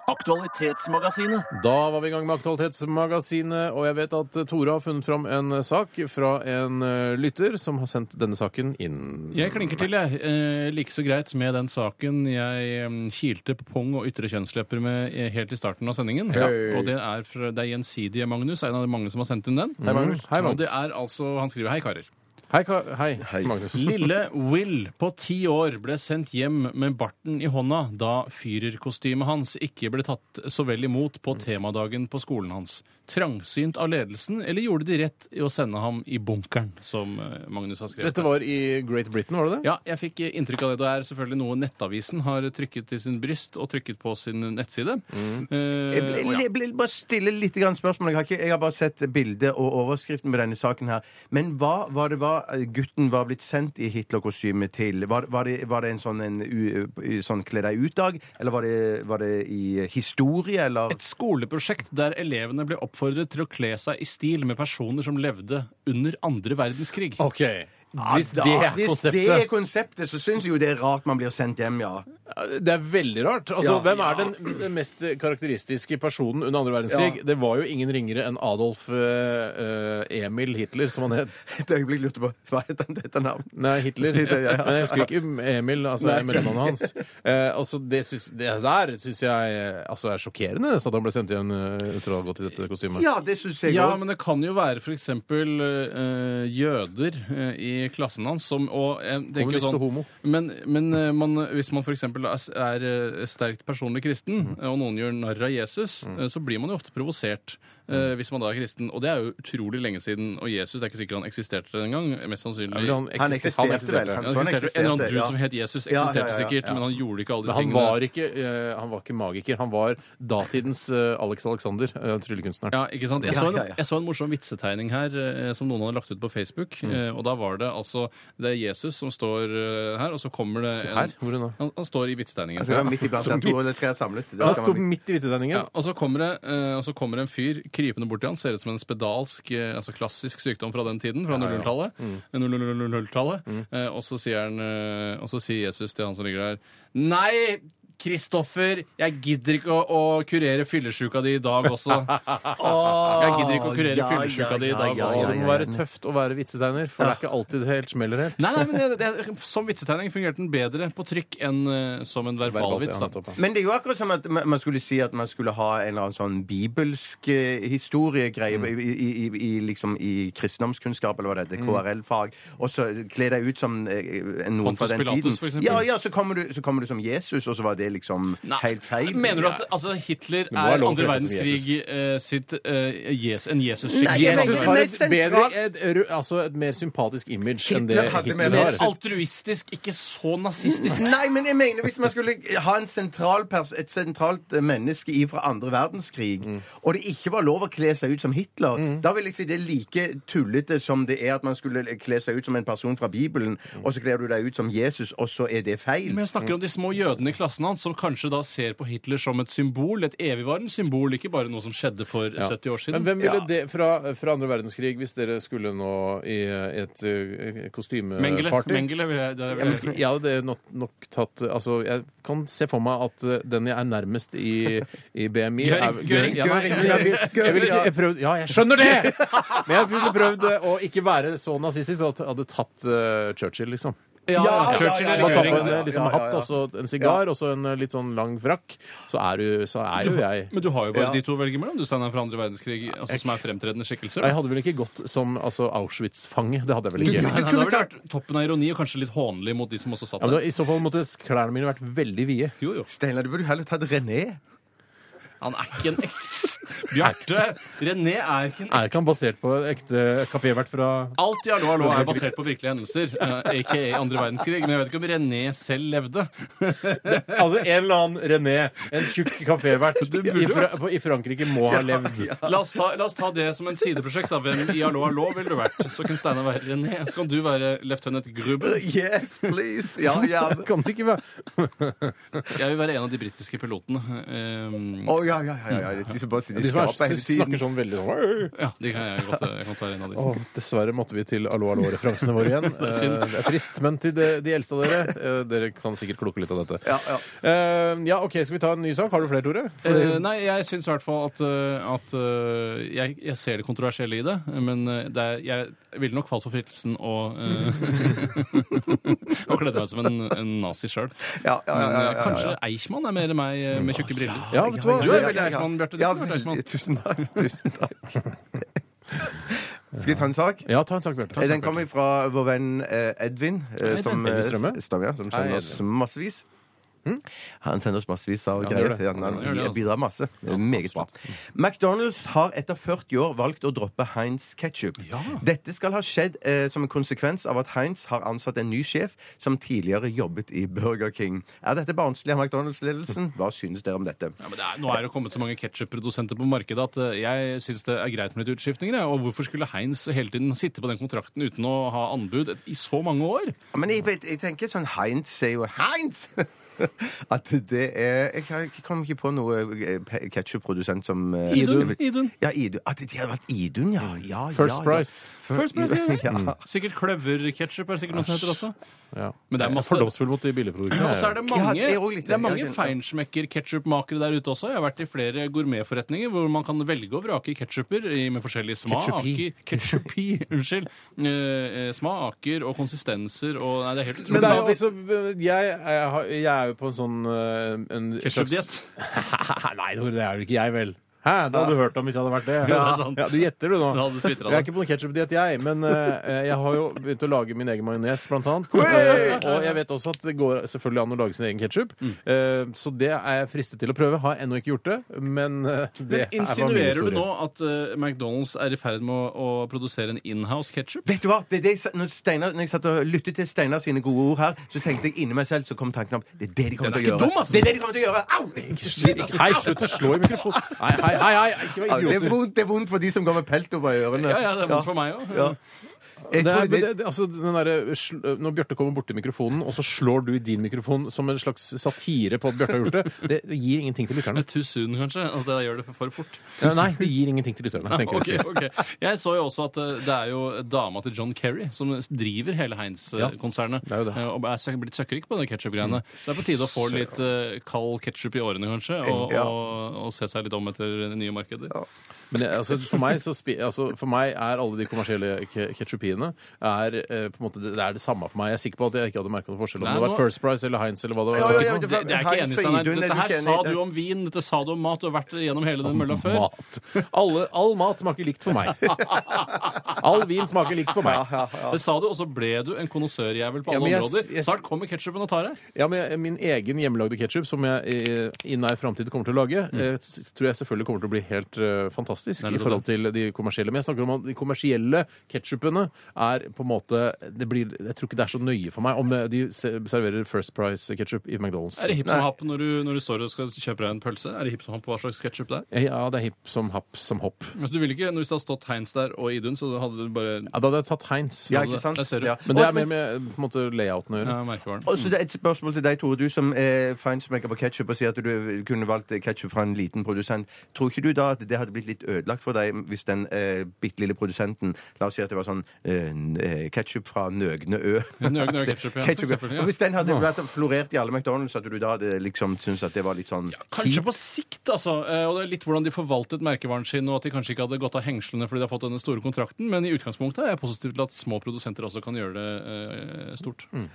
Aktualitetsmagasinet. Da var vi i gang med Aktualitetsmagasinet, og jeg vet at Tore har funnet fram en sak fra en eh, lytter som har sendt denne saken inn. Jeg klinker til, jeg. Eh, like så greit med den saken jeg eh, kilte på pung og ytre kjønnslepper med eh, helt i starten av sendingen. Hei. Og det er, fra, det er Gjensidige Magnus, en av de mange som har sendt inn den. Mm. Hei, Magnus. Hei, Magnus. Og det er altså, han skriver Hei, karer. Hei, Ka hei, Magnus. Lille Will på ti år ble sendt hjem med barten i hånda da fyrerkostymet hans ikke ble tatt så vel imot på temadagen på skolen hans. Trangsynt av ledelsen, eller gjorde de rett i å sende ham i bunkeren, som eh, Magnus har skrevet? Dette var i Great Britain, var det det? Ja, jeg fikk inntrykk av det. Det er selvfølgelig noe Nettavisen har trykket til sin bryst og trykket på sin nettside. Eh, Mm. Jeg ble, og ja. jeg ble bare stille litt grann spørsmål. Jeg har, ikke, jeg har bare sett bildet og overskriften på denne saken her. Men hva var det var gutten var blitt sendt i Hitler-kostyme til? Var, var, det, var det en sånn, en, u- u- sånn kle deg ut-dag? Eller var det, var det i historie, eller? Et skoleprosjekt der elevene ble oppfordret til å kle seg i stil med personer som levde under andre verdenskrig. OK. Hvis Da, det er hvis det konseptet er konseptet, så syns jeg jo det er rart man blir sendt hjem, ja. Det er veldig rart. Altså, Ja. Hvem er den, den mest karakteristiske personen under andre verdenskrig? Ja. Det var jo ingen ringere enn Adolf eh, eh, Emil Hitler, som han het. Et øyeblikk lurte på hva het han dette navnet? Nei, Hitler. Hitler, ja, ja. Men jeg husker ikke Emil, altså Nei. mellomnavnet hans. Eh, altså, det, syns- det der syns jeg eh, altså, er sjokkerende, nesten, at han ble sendt igjen eh, etter å ha gått i dette kostymet. Ja, det syns jeg Ja, òg. men det kan jo være f.eks. Uh, jøder eh, i klassen hans som og jeg tenker jo Kommunist og sånn, homo. Men, men eh, man, hvis man f.eks. er, er eh, sterkt personlig kristen, Mm. eh, og noen gjør narr av Jesus, eh, så blir man jo ofte provosert. eh, Mm. hvis man da er kristen, og det er jo utrolig lenge siden. Og Jesus det er ikke sikkert han eksisterte den gang. Mest sannsynlig Eller Han Han eksisterte, eksisterte han vel, eksisterte. Ja, det eksisterte, En kanskje. Han eller annen eksisterte, dude ja. som het Jesus, Ja, ja, eksisterte ja, ja. sikkert, men han gjorde ikke alle de Men han tingene. var ikke, eh, han var ikke magiker. Han var datidens eh, Alex Alexander, eh, tryllekunstneren. Ja, ikke sant? Jeg Ja, så, en, ja, ja. jeg så en morsom vitsetegning her eh, som noen hadde lagt ut på Facebook. Mm. Eh, og da var det altså Det er Jesus som står eh, her, og så kommer det en, Her? Hvor er han da? han, han står i vitsetegningen. Skal være midt iblant de to, eller skal jeg samlet? Det Han skal sto man- midt i vitsetegningen. Ja, og, så kommer det, eh, og så kommer det en fyr krypende bort til han. Ser ut som en spedalsk, eh, altså klassisk sykdom fra den tiden, fra 00-tallet. Mm. Eh, 00-tallet. Eh, og, så sier han, eh, og så sier Jesus til han som ligger der Nei! Kristoffer, jeg gidder ikke å, å kurere fyllesyka di i dag også. Jeg gidder ikke å kurere ja, fyllesyka ja, di i ja, dag ja, også. Altså, ja, det må være tøft å være vitsetegner, for det er ikke alltid det helt smeller helt. Nei, nei, men det, det, Som vitsetegning fungerte den bedre på trykk enn eh, som en verbalvits. da. Verbalt, ja. Men det er jo akkurat som at man man skulle si at man skulle ha en eller annen sånn bibelsk eh, Mm. historiegreie i, i, i, i, liksom i kristendomskunnskap, eller hva det Mm. heter, KRL-fag, og så kle deg ut som eh, noen fra Pontus den Pilatus, tiden. for eksempel. ja, ja, så kommer, du, så kommer du som Jesus, og så var det liksom Nei. helt feil. Mener du at altså, Hitler hva er er lov til andre å lese som verdenskrig eh, sitt eh, jes, en Jesus-skikk? Nei, Jesus jeg Jesus mener- har Nei, et sentral- bedre, et, ru- altså et mer sympatisk image enn det Hitler hadde Hitler mer- Mer har. altruistisk, ikke så nazistisk. Nei, men jeg mener hvis man skulle ha en sentral pers et sentralt eh, menneske i fra andre verdenskrig, og det ikke var lov å kle seg ut som Hitler, da vil jeg si det er like tullete som det er at man skulle eh, kle seg ut som Mm. en person fra Bibelen, og så kler du deg ut som Jesus, og så er det feil. Men jeg snakker om de små jødene i klassen hans. sant? som kanskje da ser på Hitler som et symbol, et evigvarende symbol, ikke bare noe som skjedde for 70 år siden. Men hvem ville det fra, fra andre verdenskrig, hvis dere skulle nå i et eh, Mengele. kostymeparty? Mengele vil jeg, det Ja, vil men jeg. sk- Jeg hadde nok, nok tatt eh, Altså, jeg kan se for meg at eh, den jeg er nærmest i, i BMI er- Göring, Göring, Ja, nei, men jeg vil- jeg vil ikke- jeg prøvd- Ja, jeg skjønner det! Men jeg ville prøvd eh, å ikke være så nazistisk at jeg hadde tatt eh, Churchill, liksom. Ja, ja, Churchill ja, Man eller tar på Göring. en eh, liksom, Ja, ja, ja. hatt og så en sigar og så en eh, litt sånn lang frakk, så er, du, så er jo jeg Men du har jo bare Ja. de to å velge mellom, du Steinar, fra andre verdenskrig, altså, som er fremtredende skikkelser. Jeg hadde vel ikke gått som altså, Auschwitz-fange. Det hadde jeg vel Nei, ikke. nei, da ville det vært toppen av ironi og kanskje litt hånlig mot de som også satt Ja, men da, der. I så fall måtte klærne mine vært veldig vide. Jo, jo. Steinar, du burde heller tatt René. Han er ikke en ekte Bjarte! René er ikke en ekte Er ikke han basert på en ekte kafévert fra Alt i Hallo Hallo er basert på virkelige hendelser, eh, aka andre verdenskrig. Men jeg vet ikke om René selv levde. Altså en eller annen René, en tjukk kafévert burde i, Fra på- i Frankrike må ha levd. La oss ta, la oss ta det som en sideprosjekt. da. Hvem i Hallo Hallo ville du vært? Så kunne Steinar være René. Så kan du være løytnant Gruber. Yes, please! Ja, ja. Kan det ikke være Jeg vil være en av de britiske pilotene. Eh, Å, ja, ja, ja, ja. De som bare sitter i De som er, skapet hele snakker tiden. sånn veldig sånn ja, de kan jeg godt jeg kan ta en av de. Åh, Dessverre måtte vi til allo allo-referansene våre igjen. Eh, synd. Det er trist. Men til de, de eldste av dere, eh, dere kan sikkert kloke litt av dette. Ja, ja. Eh, ja, OK, skal vi ta en ny sak? Har du flere, Tore? Fordi- Eh, nei, jeg syns i hvert fall at, eh, at eh, jeg, jeg ser det kontroversielle i det, men eh, det er, jeg ville nok falt for fristelsen å eh, Å kledde meg ut som en, en nazi sjøl. Ja, ja, ja, Men ja, eh, ja, ja. kanskje Eichmann er mer meg eh, med tjukke briller. Ja, vet du hva? Du er veldig Eichmann, Bjarte. Du Ja, kunne vært Eichmann. veldig. Tusen takk. Tusen takk. Skal jeg ta en sak? Ja, ta en sak, Bjarte. Eh, Den kommer fra vår venn eh, Edvin, eh, Edvin. som, eh, Edvin Strømme? Strømme, ja, som Hei, Hm? sender oss massevis. Han sender oss massevis av Ja, han greier. gjør det. Ja, han, Han gjør det, altså. bidrar masse. Det er Meget bra. McDonald's har etter 40 år valgt å droppe Heinz ketchup. Dette skal ha skjedd eh, som en konsekvens av at Heinz har ansatt en ny sjef som tidligere jobbet i Burger King. Er dette barnslig av McDonald's-ledelsen? Hva synes dere om dette? Ja, men det er, nå er det kommet så mange ketsjupprodusenter på markedet at eh, jeg syns det er greit med litt utskiftninger. jeg. Og hvorfor skulle Heinz hele tiden sitte på den kontrakten uten å ha anbud et- i så mange år? Ja, Men jeg, vet, jeg tenker sånn Heinz er jo Heinz! At det er Jeg kan- jeg kom ikke på noe ketsjupprodusent som eh, Idun, Idun. Ja, Idun. At det hadde vært Idun, ja. ja First ja, Price. Ja. First Price, ja. ja. Sikkert kløverketsjup er det sikkert noe som heter også. Ja. Men det er Jeg masse- Fordomsfull mot de billigproduktene. Og så er det Ja, mange, det er også litt- det er mange ja, det- feinschmecker-ketsjupmakere der ute også. Jeg har vært i flere gourmetforretninger hvor man kan velge og vrake ketsjuper med forskjellig smak. Ketchupi. Ketchupi, unnskyld. Eh, eh, smaker og konsistenser og Nei, det er helt Men det er utrolig. jo også, jeg, jeg, har- jeg er jo på en sånn eh, en Ketchup-diett. slags- Nei, Tore, det er jo ikke jeg, vel. Hæ, Det hadde du hørt om hvis jeg hadde vært det. det er sant. Ja, du gjetter, du nå. Da hadde du twittret det. jeg er ikke på noen ketsjupdiett, jeg. Men eh, jeg har jo begynt å lage min egen majones, blant annet. Eh, og jeg vet også at det går selvfølgelig an å lage sin egen ketsjup. Mm. så det er jeg fristet til å prøve. Har ennå ikke gjort det, men eh, det Men er insinuerer bare du nå min historie. at eh, McDonald's er i ferd med å, å produsere en inhouse ketsjup? Vet du hva? Det er det jeg, sa- når, Steinar, når jeg satt og lyttet til Steinar sine gode ord her, så tenkte jeg inni meg selv, så kom tanken opp Det er det de Den er kommer til ikke å gjøre. dum, altså. Det er det de kommer til å gjøre! Au! Hei, slutt å slå i mikrofonen! Nei, Hei, hei, hei! Ikke vær Au, det, er idioter. vondt, det er vondt for de som går med pelt over ørene. Ja, ja, det er vondt for meg òg. Ja. Jeg Det tror er, men det- det, det, altså, den derre sl- når Bjarte kommer borti mikrofonen, og så slår du i din mikrofon som en slags satire på at Bjarte har gjort det, det gir ingenting til lytterne. Too soon, kanskje. Altså, det gjør det for, for fort. Eh, Nei, det gir ingenting til lytterne, tenker Ok, jeg. å si. ok. Jeg så jo også at eh, det er jo dama til John Kerry som driver hele Heinz-konsernet. eh, det Mm. er jo det. Og er søk- blitt søkkrik på de ketsjup-greiene. Det er på tide å få litt eh, kald ketsjup i årene, kanskje, og, Ja. og, og se seg litt om etter nye markeder. Men jeg, altså, for, meg så spi, altså, for meg er alle de kommersielle ketsjupiene er, eh, på en måte, det er det samme for meg. Jeg er sikker på at jeg ikke hadde merka noen forskjell om Nei, det var nå- First Price eller Heinz eller hva det Ja, var. ja, ja, Det, det er ikke Heinz enig, og Steinar. Idun, er Dette du her ikke sa enig? du om vin, dette sa du om mat, du har vært gjennom hele den mølla før. Mat. Alle, all mat smaker likt for meg. All vin smaker likt for meg. Det sa du, og så ble du en konnoissørjævel på Ja, alle men jeg- områder. jeg- Snart kommer ketsjupen og tar deg. Ja, men jeg- Min egen hjemmelagde ketsjup, som jeg eh, i nær framtid kommer til å lage, eh, s- tror jeg selvfølgelig kommer til å bli helt eh, fantastisk Mm. Nei, det i er forhold til de kommersielle. Men jeg snakker om at de kommersielle ketsjupene er på en måte det blir, Jeg tror ikke det er så nøye for meg om eh, de se- serverer First Price-ketsjup i McDonald's. Er det hipp som happ når du, når du står og skal kjøpe deg en pølse? Er det hipp som happ hva slags ketsjup det er? Eh, Ja, det er hipp som happ som hopp. Altså, du ville ikke, Hvis det hadde stått Heinz der og Idun, så hadde du bare Ja, da hadde jeg tatt Heinz. Ja, ikke sant? Der ser du. Ja. Men det er mer med på en måte, layouten å gjøre. ja, merkevaren. Og så det er Et spørsmål til deg, Tore. Du som er fansmaker på ketsjup og sier at du kunne valgt ketsjup fra en liten produsent. Tror ikke du da at det hadde blitt litt ødelagt for deg hvis den eh, bitte lille produsenten La oss si at det var sånn eh, ketsjup fra Nøgne Ø. Ja, Nøgne Ø ketchup, ja. Ketchup, For eksempel, ja. Og Hvis den hadde vært florert i alle McDonald's, at du da hadde liksom syntes at det var litt sånn Kanskje på sikt, altså. Eh, Og det er litt hvordan de forvaltet merkevaren sin, og at de kanskje ikke hadde gått av hengslene fordi de har fått denne store kontrakten, men i utgangspunktet er jeg positiv til at små produsenter også kan gjøre det eh, stort. Mm,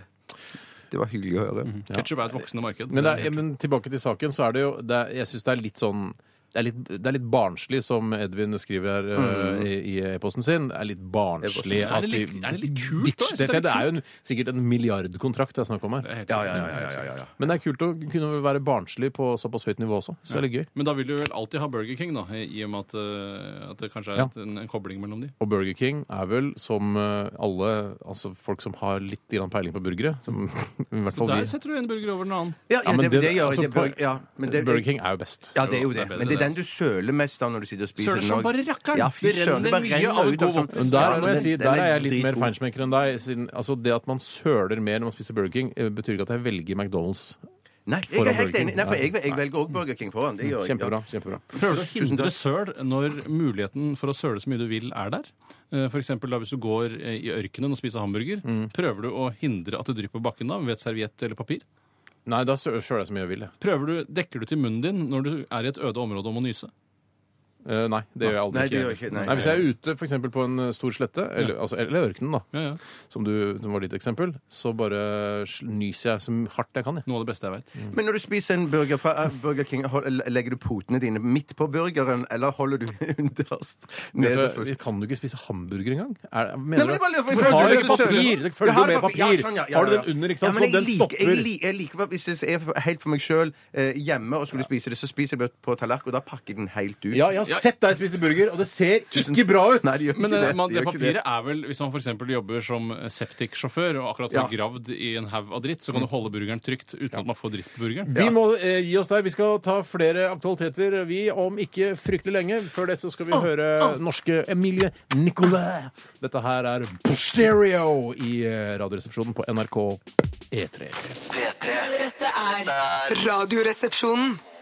Det var hyggelig å høre. Ketchup er et voksende marked. Men, det er, men tilbake til saken, så er det jo det er, Jeg syns det er litt sånn det er, litt, det er litt barnslig, som Edvin skriver her eh, i i e-posten sin. Det er litt barnslig Mm. Er det litt- er det litt kult, da? ditcher Jeg synes det er dette. Det er litt jo en, sikkert en milliardkontrakt det er snakk om her. Det er helt Ja, sant. ja, ja, ja, ja, ja, ja. Men det er kult å kunne være barnslig på såpass høyt nivå også. Så det er litt gøy. Men da vil du vel alltid ha Burger King, da, i i og med at, eh, at det kanskje er Ja. et, en, en kobling mellom de. Og Burger King er vel som eh, alle altså folk som har litt grann peiling på burgere. Som, I hvert fall Der vi. setter du en burger over den annen. Ja, ja, men det, det- det, gjør altså, det, på- ja, men det, Burger King er jo best. Ja, det er jo Det er det. bedre Men det det, er den du søler mest av når du sitter og spiser. Søler som Når- bare rakkeren. Ja, fy Det søren, renner det bare mye renner av ut god sånn- voksen. Men Ja, der, må den- jeg si, den der er jeg litt mer dritgod. feinschmecker enn deg. Siden, altså det at man søler mer når man spiser Burger King, eh, betyr ikke at jeg velger McDonald's. Nei, jeg er foran helt Burger enig. King. Nei, for jeg, Nei. jeg velger også Burger King foran. Det gjør jeg. Kjempebra. kjempebra. Prøver du å Tusen hindre takk. søl når muligheten for å søle så mye du vil, er der? Eh, For eksempel, da hvis du går eh, i ørkenen og spiser hamburger, Mm. prøver du å hindre at det drypper på bakken da ved et serviett eller papir? Nei, da sø- søler jeg så mye jeg vil. jeg. Prøver du, Dekker du til munnen din når du er i et øde område og må nyse? Eh, nei, det gjør jeg aldri. Nei, det gjør jeg ikke, nei. hvis jeg er ute for eksempel, på en eh, stor slette, eller, altså, eller ørkenen, da, Ja, ja. som, du, som var ditt eksempel, så bare sl- nyser jeg så hardt jeg kan. Jeg. Noe av det beste jeg veit. Mm. Men når du spiser en burger fra eh, Burger King, hold- legger du potene dine midt på burgeren, eller holder du underst? nederst? Vet du, Kan du ikke spise hamburger engang? Er, mener Nei, men du jeg bare lurer på- Du har jo følger du ikke papir! sølen? Det følger Jeg jo har med papir. Ja, papir. sånn, ja, ja, Har du ja. den under, ikke Ja, sant? men så den jeg liker- stopper. Jeg, li- jeg liker hva- Hvis det er for- helt for meg sjøl eh, hjemme, og skulle spise det, så spiser jeg det på tallerken, og da pakker jeg den helt ut. Ja, jeg har sett deg spise burger, og det ser ikke bra ut! eh, Nei, det gjør ikke Men det. det, man, det det gjør ikke papiret er vel Hvis man f.eks. jobber som eh, septiksjåfør og akkurat har Ja. Mm. gravd i en haug av dritt, så kan du holde burgeren trygt uten at man får dritt på burgeren. Vi må eh, gi oss der. Vi skal ta flere aktualiteter, vi, om ikke fryktelig lenge. Før det så skal vi høre norske Emilie Nicolet. Dette her er Stereo i eh, Radioresepsjonen på NRK E3. P3 Dette er Radioresepsjonen.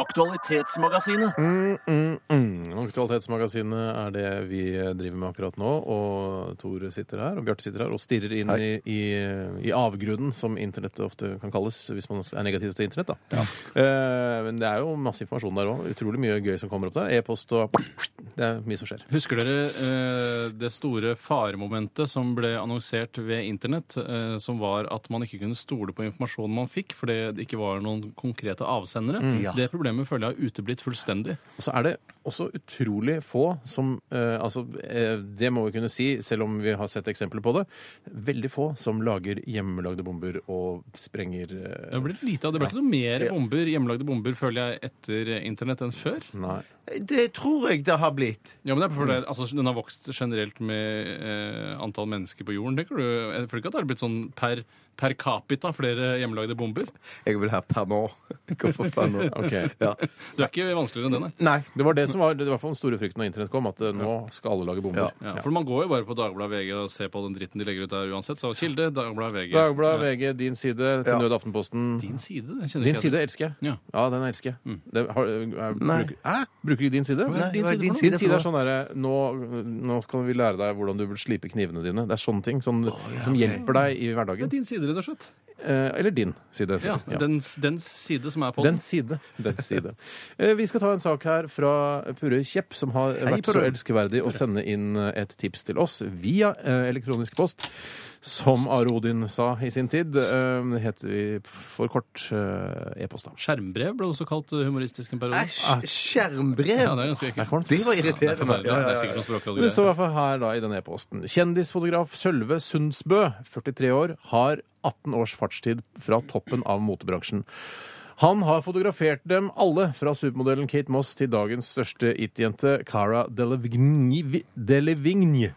Aktualitetsmagasinet. Mm, aktualitetsmagasinet er det vi driver med akkurat nå. Og Tore sitter her, og Bjarte sitter her og stirrer inn i, i, i avgrunnen, som internettet ofte kan kalles hvis man er negativ til internett. da. Eh, men det er jo masse informasjon der òg. Utrolig mye gøy som kommer opp der. E-post og Det er mye som skjer. Husker dere eh, det store faremomentet som ble annonsert ved internett, eh, som var at man ikke kunne stole på informasjonen man fikk fordi det ikke var noen konkrete avsendere? Det problemet føler jeg har uteblitt fullstendig. Og så er det også utrolig få som eh, Altså, eh, det må vi kunne si, selv om vi har sett eksempler på det. Veldig få som lager hjemmelagde bomber og sprenger eh, Det ble lite av det. Det ble ikke noe mer bomber, hjemmelagde bomber, føler jeg, etter internett enn før. Nei. det. Det tror jeg det har blitt. Ja, men det er fordi altså, Den har vokst generelt med eh, antall mennesker på jorden, tenker du? Jeg føler ikke at det har blitt sånn per, per capita flere hjemmelagde bomber. Jeg vil ha per nå. Hvorfor per nå? Ok. Ja. Du er ikke vanskeligere enn den, nei. Nei. Det var det som var det var i hvert fall den store frykten da internett kom, at eh, nå skal alle lage bomber. Ja, for man går jo bare på Dagbladet VG og ser på den dritten de legger ut der uansett. Så Kilde, Dagbladet VG. Dagbladet, VG, din side, til nød Aftenposten. Din side? Jeg kjenner Din ikke jeg side det. elsker jeg. Ja. Mm. den elsker jeg. Det, har, eh, er, Nei. bruker, Hæ? Bruker de din side? Nei, din hva er side for din noe? side din side for er sånn derre nå, nå skal vi lære deg hvordan du bør slipe knivene dine. Det er sånne ting som, som hjelper deg i Det hverdagen. er din side, rett og slett. eh, eller din side. Ja, Ja. dens, dens side som er på Den side. Den side. Eh, Vi skal ta en sak her fra Purre Kjepp, som har vært så elskverdig å sende inn eh, et tips til oss via eh, elektronisk post. Som Are Odin sa i sin tid. eh, Det heter vi for kort eh, e-post, da. Skjermbrev ble også kalt eh, humoristisk en periode. Skjermbrev! Ja, det er ganske ekkelt. Det var Ja, det er irriterende. forferdelig. Det er sikkert noen språkråd Det står i hvert fall her da i denne e-posten. Kjendisfotograf Sølve Sundsbø, 43 år, har 18 års fartstid fra toppen av motebransjen. Han har fotografert dem alle, fra supermodellen Kate Moss til dagens største it-jente Cara Delevingne. Delevingne.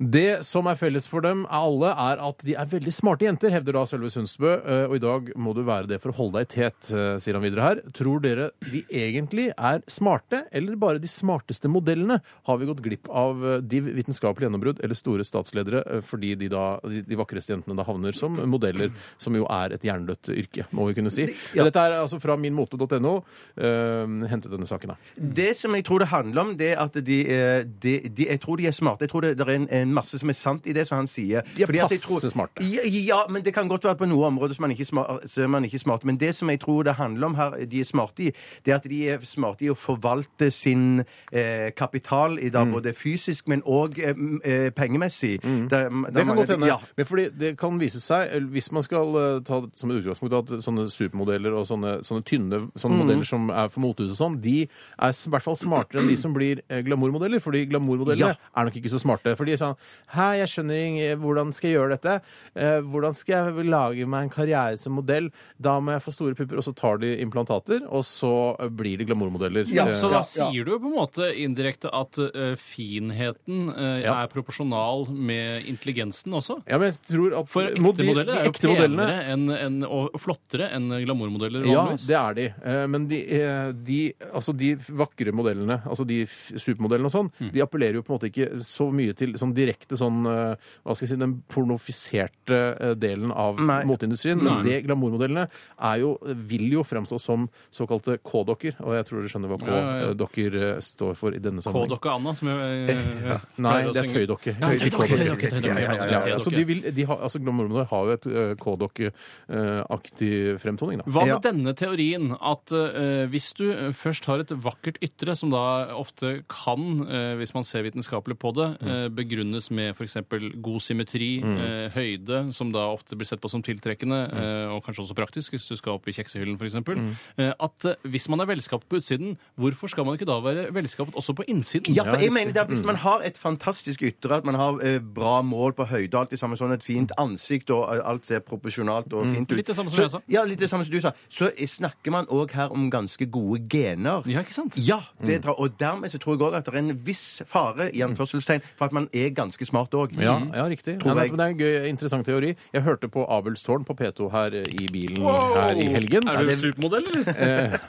Det som er felles for dem er alle, er at de er veldig smarte jenter, hevder da Sølve Sundsbø. eh, Og i dag må du være det for å holde deg tet, eh, sier han videre her. Tror dere de egentlig er smarte, eller bare de smarteste modellene? Har vi gått glipp av eh, div vitenskapelige gjennombrudd eller store statsledere eh, fordi de, da, de, de vakreste jentene da havner som modeller, som jo er et jerndødt yrke, må vi kunne si. Dette er altså fra minmote.no. eh, hentet denne saken, da. Det som jeg tror det handler om, det er at de, eh, de, de Jeg tror de er smarte. Jeg tror det, det er en, en masse som er sant i det som han sier. De er Fordi at jeg passe smarte. Ja, ja, men det kan godt være på noen områder som man ikke smar- så er man ikke er smart. Men det som jeg tror det handler om her, de er smarte i, det er at de er smarte i å forvalte sin eh, kapital i Mm. dag, både fysisk, men òg eh, m- eh, pengemessig. Det, Det kan godt hende. Ja. Men fordi det kan vise seg, eller hvis man skal eh, ta det som et utgangspunkt at sånne supermodeller og sånne, sånne tynne Mm. sånne modeller som er for motehuset og sånn, de er s- i hvert fall smartere enn de som blir eh, glamourmodeller. Fordi glamourmodellene Ja. er nok ikke så smarte. For de er sånn Hei, jeg skjønner ikke hvordan skal jeg gjøre dette? Eh, Hvordan skal jeg lage meg en karriere som modell? Da må jeg få store pupper, og så tar de implantater, og så eh, blir de glamourmodeller. Ja, Eh, Så da sier du på en måte indirekte at eh, finheten eh, Ja. er proporsjonal med intelligensen også? ja, men jeg tror at For ekte mod- de- modeller de er jo ekte modellene- penere enn- enn- og flottere enn glamourmodeller. Ja, vanligvis. det er de. Eh, Men de, eh, de, altså de vakre modellene, altså de f- supermodellene og sånn, Mm. de appellerer jo på en måte ikke så mye til sånn direkte sånn eh, Hva skal jeg si Den pornofiserte eh, delen av Nei. moteindustrien. Men Nei. det glamourmodellene er jo, vil jo fremstå som såkalte K-dokker. Og jeg tror dere skjønner hva Ja, ja, ja. K-dokker eh, står for i denne sammenheng. K-dokka Anna, som jeg eh, Nei, pleier å det er synge. tøydokke. Ja, Ikke tøydokke, K-dokker. tøydokke, tøydokke, Ja, ja, ja, Ja, tøydokke. ja, så de vil, de har, altså, glamourmodeller har jo et eh, K-dokk-aktig fremtoning, da. Hva med Ja. denne teorien at eh, hvis du eh, først har et vakkert ytre, som da ofte kan, eh, hvis man ser vitenskapelig på det, Mm. eh, begrunnes med f.eks. god symmetri, eh, høyde, som da ofte blir sett på som tiltrekkende, Mm. eh, og kanskje også praktisk hvis du skal opp i kjeksehyllen f.eks., eksempel, eh, at eh, hvis man er velskapt på utsiden, hvorfor skal man ikke da være velskapet også på innsiden? Ja, Mm. for jeg mener det at Hvis man har et fantastisk ytre, at man har eh, bra mål på høyde, alt det samme, sånn et fint ansikt og eh, alt ser proporsjonalt og fint ut Litt det samme som så, jeg sa. Ja, litt det samme som du sa. Så eh, snakker man òg her om ganske gode gener. Ja, ikke sant? Ja, Mm. det tror, og dermed så tror jeg òg at det er en viss fare i anførselstegn for at man er ganske smart òg. Ja, ja riktig. Nei, Tror nei, jeg- men det er en gøy, interessant teori. Jeg hørte på Abelstårn på P2 her eh, i bilen her i helgen. Er du supermodell, eller?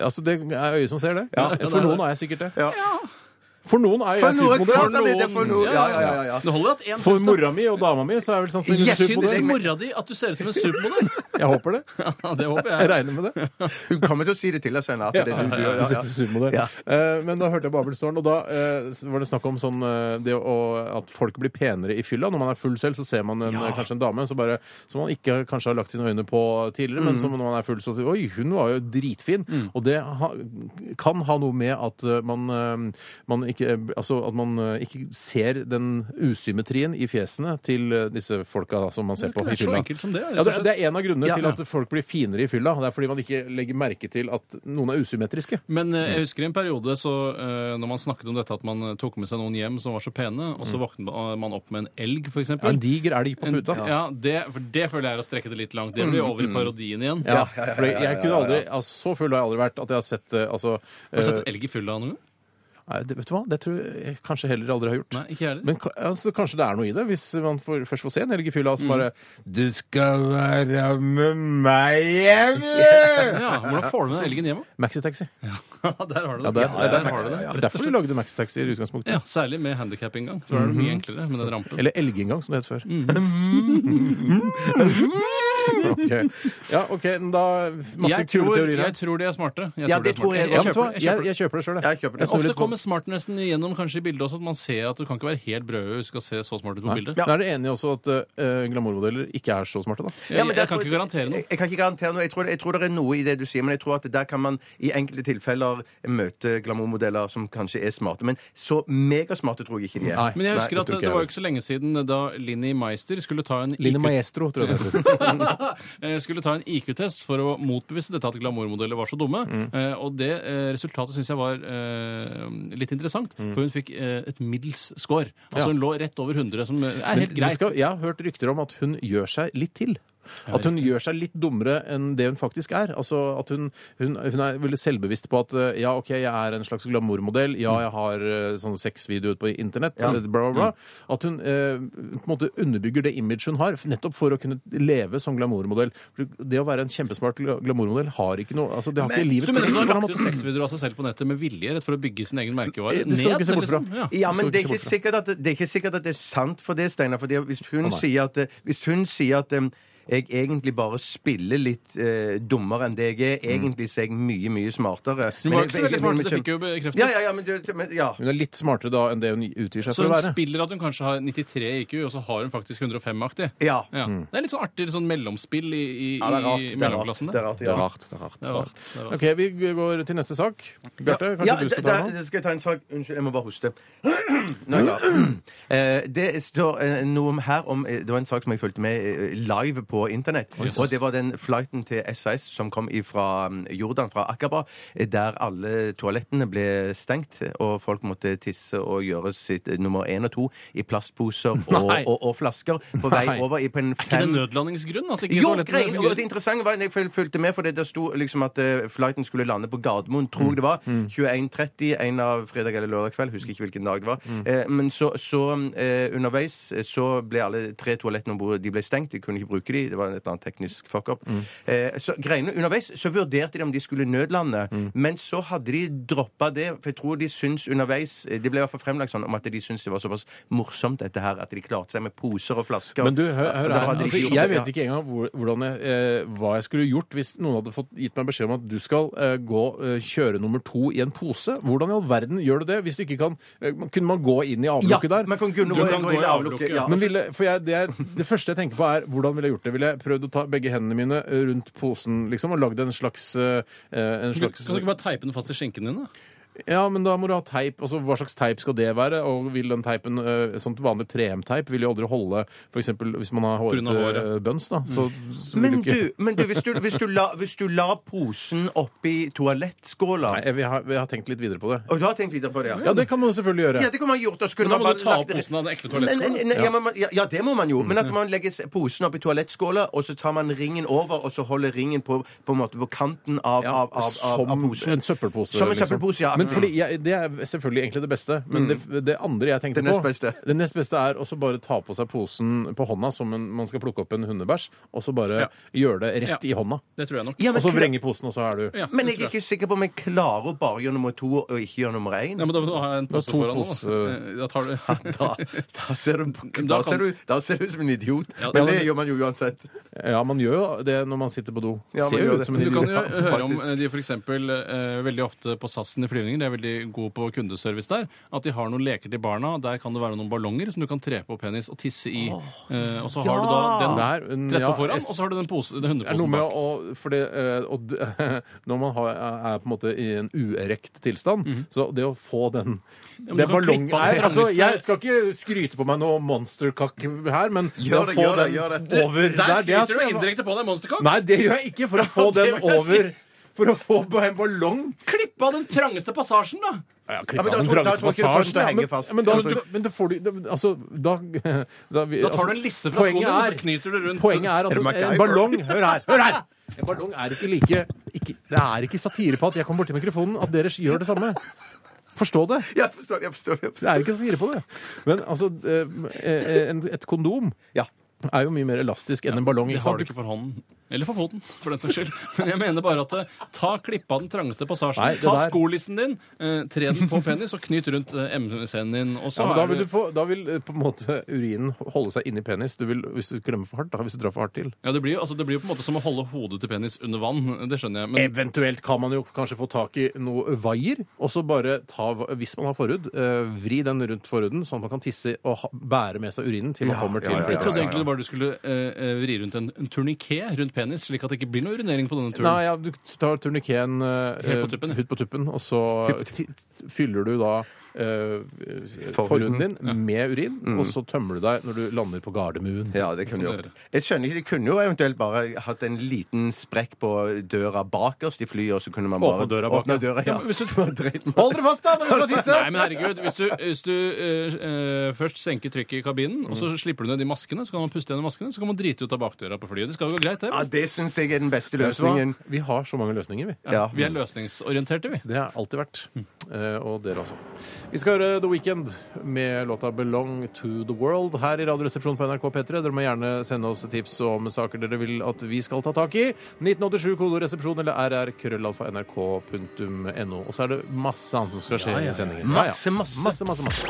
Altså, det er øyet som ser det. For noen er jeg sikkert det. Ja. For noen er For jeg noe, klart supermodell. det er det for noe. Ja, ja, ja, ja. Det holder at én For mora mi og dama mi så er jeg vel sannsynligvis Jeg synes Syns supermodell. mora di at du ser ut som en supermodell? Jeg håper det. Ja, det håper jeg. Jeg regner med det. Hun kommer til å si det til oss senere. At det er du, du, Du ser ut som supermodell. Ja. Eh, Men da hørte jeg på Abelstårn, og da eh, var det snakk om sånn eh, det å, at folk blir penere i fylla. Når man er full selv, så ser man en, kanskje en dame så bare, som man ikke kanskje har lagt sine øyne på tidligere, Mm. men som når man er full, så sier Oi, hun var jo dritfin. Og det ha, kan ha noe med at eh, man, eh, man ikke eh, Altså at man eh, ikke ser den usymmetrien i fjesene til eh, disse folka da, som man ser på i Det er så fylla. enkelt som det. rett Ja, og det, slett. det er en av grunnene Ja. til at folk blir finere i fylla. Det er fordi man ikke legger merke til at noen er usymmetriske. Men eh, jeg husker i en periode så eh, når man snakket om dette at man eh, tok med seg noen hjem som var så pene, og så våknet man- man opp med en elg, f.eks. Ja, en diger elg på puta. ja, det, for det føler jeg er å strekke det litt langt. Det blir over i parodien igjen. Ja, for jeg kunne aldri, altså, Så full har jeg aldri vært at jeg har sett eh, altså, Har du eh, sett en elg i fylla noen gang? nei, det, Vet du hva, det tror jeg kanskje heller aldri har gjort. Nei, ikke jeg heller. Men ka- altså, kanskje det er noe i det, hvis man får, først får se en helg i fylla Mm. og så bare Du skal være med meg hjem! Yeah! Ja, Hvordan får du med den elgen hjem? da? Maxitaxi. der har du det. Ja, der- der- har du det. Det er derfor de lagde maxitaxi i utgangspunktet. Ja, Særlig med handikap-inngang. Da er det mye enklere med den rampen. Mm. Eller elgengang, som det het før. Ok. Ja, OK, men da Masse Jeg kule tror, teorier jeg her. tror de er smarte. Jeg Ja, tror de er det tror smarte. Ja, jeg jeg, vet du hva? kjøper, jeg kjøper det. Jeg, jeg kjøper det sjøl, Jeg kjøper det. Jeg snur Ofte litt på- kommer smartnessen igjennom kanskje i bildet også, at man ser at du kan ikke være helt brød hvis du skal se så smart ut på bildet. Da er dere enige også at eh, glamourmodeller ikke er så smarte, da? Jeg, jeg kan ikke garantere noe. Jeg, jeg kan ikke garantere noe. Jeg tror, jeg tror det er noe i det du sier, men jeg tror at der kan man i enkelte tilfeller møte glamourmodeller som kanskje er smarte. Men så megasmarte tror jeg ikke de er. Nei. Men jeg Nei, husker at det tror ikke jeg det var jo ikke så lenge siden eh, da Linni Meister skulle ta en Line IQ Maestro, tror jeg det heter. Eh, skulle ta en IQ-test for å motbevise dette at glamourmodeller var så dumme. Mm. Eh, Og det eh, resultatet syns jeg var eh, litt interessant, for hun fikk eh, et middels score. Altså Mm. Ja. hun lå rett over 100, som eh, er Men helt det greit. skal, jeg har hørt rykter om at hun gjør seg litt til. At hun gjør seg litt dummere enn det hun faktisk er. Altså at hun, hun, hun er veldig selvbevisst på at eh, ja, OK, jeg er en slags glamourmodell, ja, jeg har eh, sånn sexvideo ute på internett, eller bla, bla, bla. Mm. At hun eh, på en måte underbygger det imaget hun har, nettopp for å kunne leve som glamourmodell. For det å være en kjempesmart gla- glamourmodell har ikke noe altså Det har ikke Så livets du mener hun har rett. lagt ut sexvideoer av seg selv på nettet med vilje rett for å bygge sin egen merkevare? Det skal du ned, ikke se bort fra. liksom? Ja. Ja, Det skal men vi det ikke se er, ikke bort fra. sikkert at, det er ikke sikkert at det er sant for det, Steinar. Fordi hvis hun, Å, nei. sier, at, eh, hvis hun sier at eh, jeg egentlig bare spiller litt eh, dummere enn det jeg er, egentlig så er jeg mye, mye smartere. Hun Men var jo ikke så jeg- veldig jeg- smart, jeg- det fikk jo bekreftet. Ja, ja, ja, men, du- men ja. Hun er litt smartere da enn det hun utgir seg Så for å hun være. spiller at hun kanskje har 93 i IQ, og så har hun faktisk 105-aktig. Ja. Mm. Det er litt sånn artig sånn mellomspill i, i, Ja, det er i rart. Det er rart. mellomklassen. Det er rart, Det er ja. rart. det er rart. Det er rart, det er rart. OK, vi går til neste sak. Bjarte, kanskje Ja, du skal da- ta den? da skal jeg ta en sak. Unnskyld, jeg må bare hoste. Nå, ja. Eh, Det står eh, noe om her om eh, Det var en sak som jeg fulgte med eh, live på internett. Og det var den flighten til SAS som kom fra Jordan, fra Akaba, eh, der alle toalettene ble stengt, og folk måtte tisse og gjøre sitt eh, nummer én og to i plastposer og, Nei. og, og flasker på vei Nei. over i på en Er ikke det fem nødlandingsgrunn? At ikke jo, toalettene greien, og fungerer? det interessante var Jeg føl- fulgte med, for det der sto liksom at eh, flighten skulle lande på Gardermoen, tror jeg det var. Mm. 21.30 en av fredag eller lørdag kveld. Husker ikke hvilken dag det var. Mm. Eh, men så, så eh, underveis eh, så ble alle tre toalettene om bord de ble stengt. De kunne ikke bruke de. Det var et eller annet teknisk fuck-up. Mm. Eh, så greiene underveis så vurderte de om de skulle nødlande, Mm. men så hadde de droppa det. For jeg tror de syns underveis eh, Det ble i hvert fall fremlagt sånn om at de syntes det var såpass morsomt, dette her, at de klarte seg med poser og flasker. Men du, hør, Og hør da her. hadde de Altså, gjort jeg det, ja. vet ikke engang hvor- hvordan jeg, eh, hva jeg skulle gjort hvis noen hadde fått, gitt meg beskjed om at du skal eh, gå eh, kjøre nummer to i en pose. Hvordan i all verden gjør du det hvis du ikke kan eh, Kunne man gå inn i avlukket der? man kan kunne Du gå, kan gå gå inn i i avlukket. avlukket, Ja. Men ville, for jeg, det, er, det første jeg tenker på, er hvordan ville jeg gjort det? Ville jeg prøvd å ta begge hendene mine eh, rundt posen liksom, og lagd en slags, eh, en Kan du slags ikke bare teipe den fast i skjenkene dine? Ja, men da må du ha teip. Altså, hva slags teip skal det være? Og vil den teipen, øh, sånt vanlig 3M-teip vil jo aldri holde for eksempel hvis man har grunn av hårete håret. øh, bøns, da. Så, Mm. så vil Men du ikke du, men du, hvis du, hvis du, la, hvis du la posen oppi toalettskåla Nei, jeg, vi, har, vi har tenkt litt videre på det. Og du har tenkt videre på det, ja? Ja, det kan man jo selvfølgelig gjøre. Ja, det kunne man gjort. og så kunne Men da man må bare du ta lagt av det- posen av den ekle Nei, nei, toalettskåla. Mm, nei, Ja, men man- ja, ja, det må man jo. Men at man legger s- posen oppi toalettskåla, og så tar man ringen over, og så holder ringen på, på, en måte på kanten av, Ja, av, av, av, av som posen. en søppelpose. liksom. Som en søppelpose, ja. Mm. Men fordi jeg, Det er selvfølgelig egentlig det beste, men det, det andre jeg tenkte Det nest på beste. Det nest beste er også bare ta på seg posen på hånda som en, man skal plukke opp en hundebæsj, og så bare Ja. gjøre det rett Ja. i hånda. Det tror jeg nok. Ja, men Og så kla- vrenge posen, og så er du Ja, Men det tror jeg er ikke sikker på om jeg klarer å bare gjøre nummer to og ikke gjøre nummer én. Ja, men da må du ha en pose to foran nå. pose- Eh, Da tar du Da, da, ser du, da, Da kan- ser du, da ser du ut som en idiot. Ja, men ja, men- det gjør man jo uansett. Ja, man gjør jo det når man sitter på do. Ja, man Ser gjør jo det. ut som en Men du idiot. kan jo høre om faktisk. eh, de f.eks. Eh, veldig ofte på SAS sine flyvninger, de er veldig gode på kundeservice der, at de har noen leker til barna. Der kan det være noen ballonger som du kan tre på penis og tisse i. Eh, og så har du da den Der, mm, trett ja, på foran, S- og så har du den, pose, den Det er noe hundeposen med bak. å for det, eh, og d- Når man har, er på en måte i en uerekt tilstand, så det å få den Mhm. men Det er du kan ballong klippe av Nei, den altså, trangen. Jeg skal ikke skryte på meg noe monsterkakk her, men det å det, få gjør det, den gjør det. over Der det er- skryter du indirekte på deg monsterkakk! Nei, det gjør jeg ikke! For å få det den må jeg si. over For å få på en ballong Klipp av den trangeste passasjen, da! ja, Ja, men da tror- da tror jeg ikke du får den til å henge men, fast. men, da, Altså- men da får du da- Altså, da Da, vi- Da tar du en altså, lisse fra skoene, poenget og er- så knyter du rundt. Poenget er at Er en, det en MacGyver? ballong Hør her! hør her! En ballong er ikke like ikke, Det er ikke satire på at jeg kommer borti mikrofonen, at dere gjør det samme. Forstå det. Jeg forstår, jeg forstår. Jeg forstår. Det er ikke satire på det. Men altså eh, eh, en, Et kondom Ja. er jo mye mer elastisk enn en ballong. Det ikke har du sant? ikke for hånden. Eller for foten, for den saks skyld. Men jeg mener bare at eh, ta klippe av den trangeste passasjen. Nei, det ta der- skolissen din, eh, tre den på penis og knyt rundt eh, MSN-en din. Og så Ja, men er da vil, du få, da vil eh, på en måte urinen holde seg inni penis du vil, hvis du klemmer for hardt. da, hvis du drar for hardt til. ja, det, blir jo, altså, det blir jo på en måte som å holde hodet til penis under vann. Det skjønner jeg. Men Eventuelt kan man jo kanskje få tak i noe vaier, og så bare ta, hvis man har forhud, eh, vri den rundt forhuden, sånn at man kan tisse og ha, bære med seg urinen til man kommer til ja, ja, jeg ja, trodde ja. egentlig det bare du skulle eh, eh, vri rundt en, en turniké rundt penis, slik at det ikke blir noe urinering på denne turen. Nei, ja, du tar turnikeen eh, Helt på tuppen, ja. ut på tuppen, og så ti- fyller du da eh, forhuden din med urin, og så tømmer du deg når du lander på Gardermuen. Ja, det Det kunne jo. kan du gjøre. Jeg skjønner ikke, De kunne jo eventuelt bare hatt en liten sprekk på døra bakerst i flyet, og så kunne man bare Åpne døra bak, åpne døra, Ja, ja. men hvis du- Hold dere fast, da, når du skal tisse! Nei, men herregud, hvis du, hvis du eh, eh, først senker trykket i kabinen, og så slipper du ned de maskene, så kan man puste gjennom maskene, så kan man drite ut av bakdøra på flyet. Det skal jo gå greit, det. Ja, Det syns jeg er den beste Vet du hva? løsningen. Vi har så mange løsninger, vi. Ja. Vi er løsningsorienterte, vi. Det har jeg alltid vært. Eh, og dere også. Vi skal høre The Weekend med låta 'Belong to the World' her i Radioresepsjonen på NRK P3. Dere må gjerne sende oss tips om saker dere vil at vi skal ta tak i. 1987 kodoresepsjon eller rr.krøllalfa.nrk.no. Og så er det masse annet som skal skje i sendingen. Masse, masse. masse, masse, masse.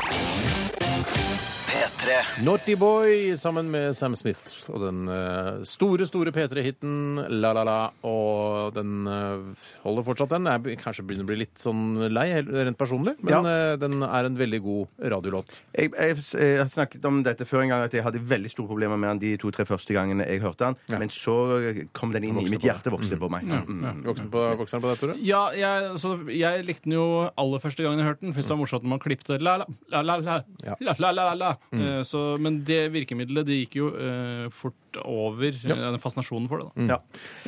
P3. Naughty Boy sammen med Sam Smith og den eh, store, store P3-hiten La La La. Og den eh, holder fortsatt, den. Jeg be- kanskje begynner å bli litt sånn lei, helt- rent personlig, men Ja. eh, den er en veldig god radiolåt. Jeg, jeg, jeg har snakket om dette før en gang, at jeg hadde veldig store problemer med den de to-tre første gangene jeg hørte den, men så kom den inn i Vokste mitt på hjerte, vokste på meg. Mm. Voksen på, voksen på deg, Tore? Ja, jeg, så jeg likte den jo aller første gangen jeg hørte den. Først var det morsomt når man klippte la la la la la Ja. Mm. la la la la Eh, så, Men det virkemidlet det gikk jo eh, fort over eh, den fascinasjonen for det. Mm. da. Ja.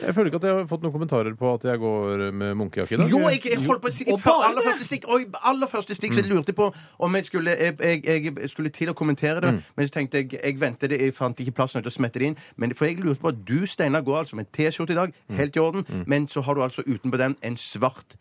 Jeg føler ikke at jeg har fått noen kommentarer på at jeg går med munkejakke i dag. Jo, jeg, jeg holdt på å si Og før bare aller det? første stikk, og i aller første stikk så lurte jeg på om jeg skulle, jeg, jeg, jeg skulle til å kommentere det, men så tenkte jeg jeg ventet det, jeg fant ikke plass nok til å smette det inn. Men for jeg lurte på at du, Steinar, går altså med en T-skjorte i dag, helt i orden, men så har du altså utenpå den en svart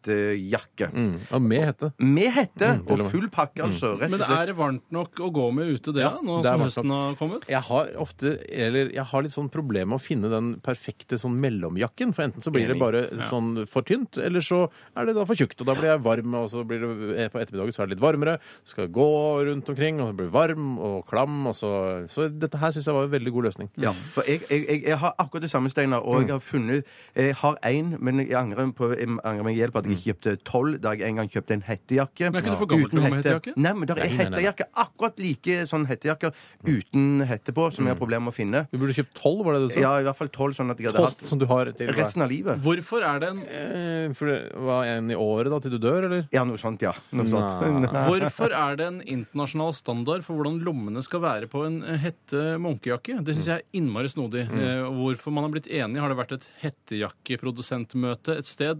hettejakke. Ja, med hette. Med hette Mm. til og med. og full pakke, altså. Rett og Men slett. er det varmt nok å gå med ute, det? Ja, da, nå det er som varmt høsten har kommet? Jeg har ofte, eller jeg har litt sånn problem med å finne den perfekte sånn mellomjakken. For enten så blir det bare sånn for tynt, eller så er det da for tjukt. Og da blir jeg varm, og så blir det eh, på ettermiddagen så er det litt varmere. Skal gå rundt omkring, og blir varm og klam. Og så, så dette her syns jeg var en veldig god løsning. Ja, for jeg, jeg, jeg, jeg har akkurat det samme, Steinar. Og Mm. jeg har funnet Jeg har én, men jeg angrer, på, jeg angrer meg i hjel på at jeg ikke kjøpte tolv da jeg en gang kjøpte en hettejakke. Mm. Men er ikke du for gammel til å gå med hettejakke? Nei, men det Nei, er nei, nei, nei. hettejakke. Akkurat like sånn hettejakker Mm. uten hette på som jeg har problemer med å finne. Du burde kjøpt tolv, var det du sa? Ja, i hvert fall tolv, sånn at jeg hadde Tolv hatt som du har til resten av livet. Hvorfor er det en Eh, For det var en i året, da, til du dør, eller? Ja, noe sånt, ja. Noe sånt. Nei. Hvorfor er det en internasjonal standard for hvordan lommene skal være på en eh, hette munkejakke? Det syns jeg er innmari snodig. Mm. Eh, Hvorfor man har blitt enig? Har det vært et hettejakkeprodusentmøte et sted,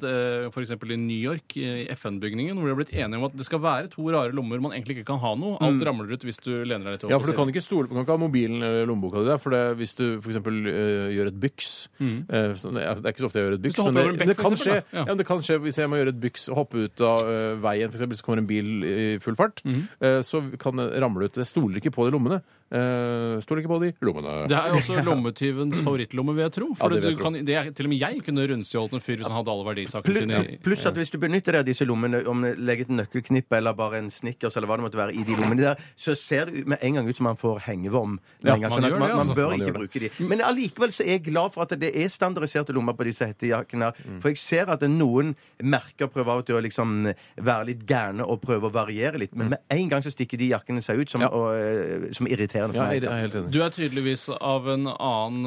f.eks. i New York, eh, i FN-bygningen, hvor de har blitt enige om at det skal være to rare lommer man egentlig ikke kan ha noe? Alt ramler ut hvis du lener deg litt Mm. Ja, over. for du kan ikke stole på, du kan ikke ha mobilen eller lommeboka di der. For det, hvis du f.eks. Uh, gjør et byks eh, så det, er, det er ikke så ofte jeg gjør et byks, Mm. hopper men det, over en bekk, det, kan for skje, eksempel, da. ja. Ja. men det kan skje hvis jeg må gjøre et byks og hoppe ut av eh, veien, f.eks. så kommer en bil i full fart, Mm. eh, så kan det ramle ut. Jeg stoler ikke på de lommene. Eh, stoler ikke på de lommene. Det er jo også lommetyvens favorittlomme, vil jeg tro. For det vil jeg du kan, det er, til og med jeg kunne rundstjålet en fyr hvis han hadde alle verdisakene sine. Pl- i- Pluss at hvis du benytter deg av disse lommene, om du legger et nøkkelknippe eller bare en snickers eller hva det måtte være i de lommene der, så ser det ut- med en gang ut som man får hengevom. med Ja, en gang, man sånn at gjør det, man, man altså. bør Man gjør ikke det. bruke de. Men allikevel så er jeg glad for at det er standardiserte lommer på disse hettejakkene. her, Mm. For jeg ser at noen merker prøver til å liksom være litt gærne og prøve å variere litt, Mm. men med en gang så stikker de jakkene seg ut som, Ja. og, eh, som irriterende for Ja, jeg meg. er helt enig. Du er tydeligvis av en annen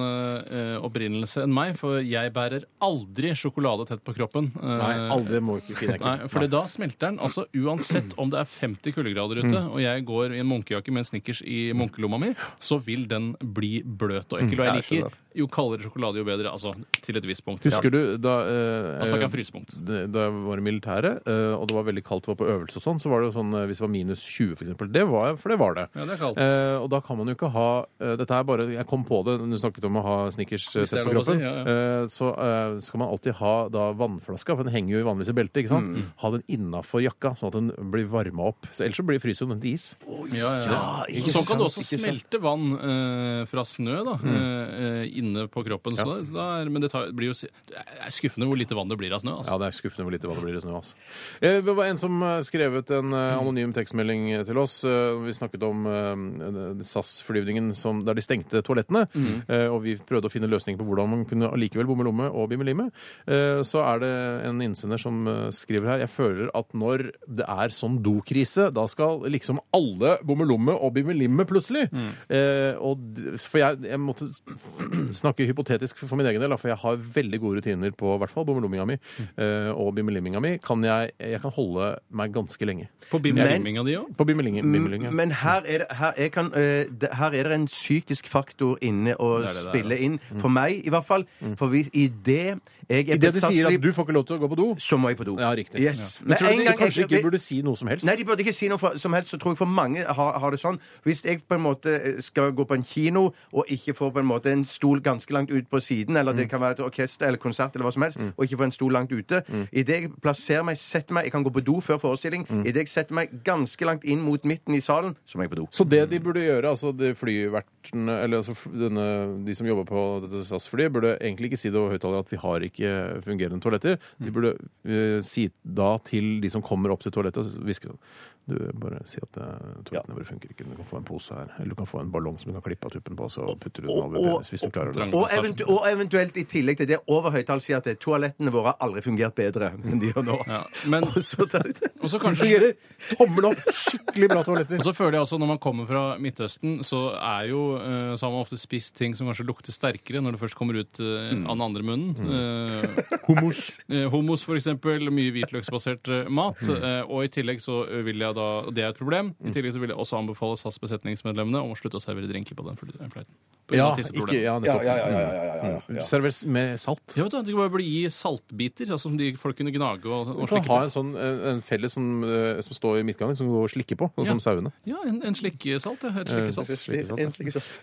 eh, opprinnelse enn meg, for jeg bærer aldri sjokolade tett på kroppen. Eh, Nei, aldri må ikke finne Nei, for da smelter den. altså Uansett om det er 50 kuldegrader ute, og jeg går i en munkejakke med en snickers i munkelomma mi, så vil den bli bløt og ekkel. Og jeg jeg skjønner. liker jo kaldere sjokolade, jo bedre. Altså til et visst punkt. Husker du da eh, Da snakker jeg frysepunkt. det- Da jeg var i militæret, eh, og det var veldig kaldt, det var på øvelse og sånn, så var det jo sånn eh, hvis det var minus 20 for eksempel. Det var jeg, for det var det. Ja, det er kaldt. Eh, og da da kan man jo ikke ha eh, Dette er bare Jeg kom på det når du snakket om å ha snickers eh, Hvis det sett er på lov å si, kroppen. ja, Eh, Så eh, skal man alltid ha da vannflaska, for den henger jo vanligvis i beltet. ikke Mm. sant? Ha den innafor jakka, sånn at den blir varma opp. Så Ellers så blir fryser jo den til is. Ja, ja. ikke sånn kan du sant, også ikke smelte vann eh, fra snø da, eh, inne på kroppen. Så da, da er, men det, tar, blir jo, si- det er skuffende hvor lite vann det blir av snø. Ja, Altså. det er skuffende hvor lite hva det blir i snø. Altså. Eh, Det var en som eh, skrevet en eh, anonym tekstmelding til oss. Eh, Vi snakket om eh, SAS-flyvningen som- der de stengte toalettene. eh, Og vi prøvde å finne løsninger på hvordan man kunne allikevel bomme lomme og bimme lime. Eh, Så er det en innsender som eh, skriver her Jeg føler at når det er sånn dokrise, da skal liksom alle bomme lomme og bimme limme plutselig. Eh, Og, d- for jeg, jeg måtte snakke hypotetisk for min egen del, da, for jeg har veldig gode rutiner på i hvert fall bommelomminga mi eh, og bimmelimminga mi. Kan jeg, jeg kan holde meg ganske lenge. På bimmelimminga di òg. På bimmeling, bimmeling, ja. Mm, Men her er, det, her, jeg kan, eh, det, her er det en psykisk faktor inne å Det er det der, spille altså. Mm. inn. For meg, i hvert fall. For hvis, i det jeg I er det de på et sier at SAS-fly, du får ikke lov til å gå på do, så må jeg på do. Ja, riktig. Yes. men tror en du de gang kanskje jeg- ikke burde si noe som helst? Nei, de burde ikke si noe for, som helst. Så tror jeg for mange har, har det sånn. Hvis jeg på en måte eh, skal gå på en kino og ikke får på en måte en stol ganske langt ut på siden, eller det kan være et orkester eller konsert eller hva som helst, og ikke får en stol langt ute I det jeg plasserer meg, setter meg Jeg kan gå på do før forestilling. I det jeg setter meg ganske langt inn mot midten i salen, så må jeg på do. Så det de burde gjøre, altså de flyvertene, eller altså f- denne, de som jobber på dette SAS-flyet, burde egentlig ikke si det over høyttaler at vi har ikke fungerende toaletter. De burde eh, si da til de som kommer opp til toalettet, og hviske sånn Du, bare si at eh, toalettene våre funker ikke. Du kan få en pose her. Eller du kan få en ballong som du kan klippe av tuppen på, så putter du den over og- penis hvis du klarer det. Trang. Og, eventu og eventuelt i tillegg til det over høyttall si at det- toalettene våre har aldri fungert bedre enn de gjør nå. Ja. Men Og så tar de det. også Det kanskje fungerer! Tommel opp! Skikkelig bra toaletter. Og så føler jeg også, Når man kommer fra Midtøsten, så, er jo, eh, så har man ofte spist ting som kanskje lukter sterkere når det først kommer ut eh, av den andre munnen. Eh, Mm. Hummus. eh, Hummus, for eksempel, Mye hvitløksbasert eh, mat. Mm. Eh, og i tillegg så vil jeg da, og det er et problem, i tillegg så vil jeg også anbefale SAS-besetningsmedlemmene om å slutte å servere drinker på den fly- den flighten. På grunn Ja, av tisseproblem. ikke, ja, nettopp. Mm. Server med salt. Ja, vet du, det kan bare bli gi saltbiter, altså, som de folk kunne gnage og, og Du kan slikke ha på. en, sånn, en en felles som, eh, som står i midtgangen, som går og slikker på, sånn som sauene. Ja, en, en slikkesalt. Ja. Et Eh, Eh, slikkesalt.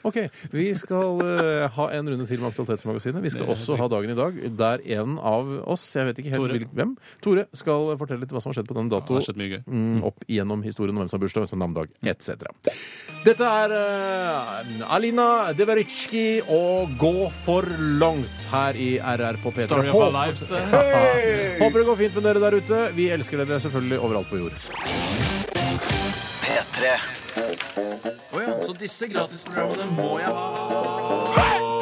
Ok, vi skal eh, ha en runde til med Aktualitetsmagasinet. Vi skal Det er også helt ha dagen i dag, der en av oss, jeg vet ikke helt Tore. hvil- hvem, Tore skal fortelle litt hva som har skjedd på den Ja, det dato. har skjedd mye Mm. gøy. mm, opp igjennom historien om hvem som har bursdag, hvem som har navnedag, etc. Dette er eh, Alina Deveritsjki og Gå for langt her i RR på P3. Story of our lives, det. Håper- Håper det går fint med dere der ute. Vi elsker dere selvfølgelig overalt på jord. P3 Så disse gratisprogrammene må jeg ha.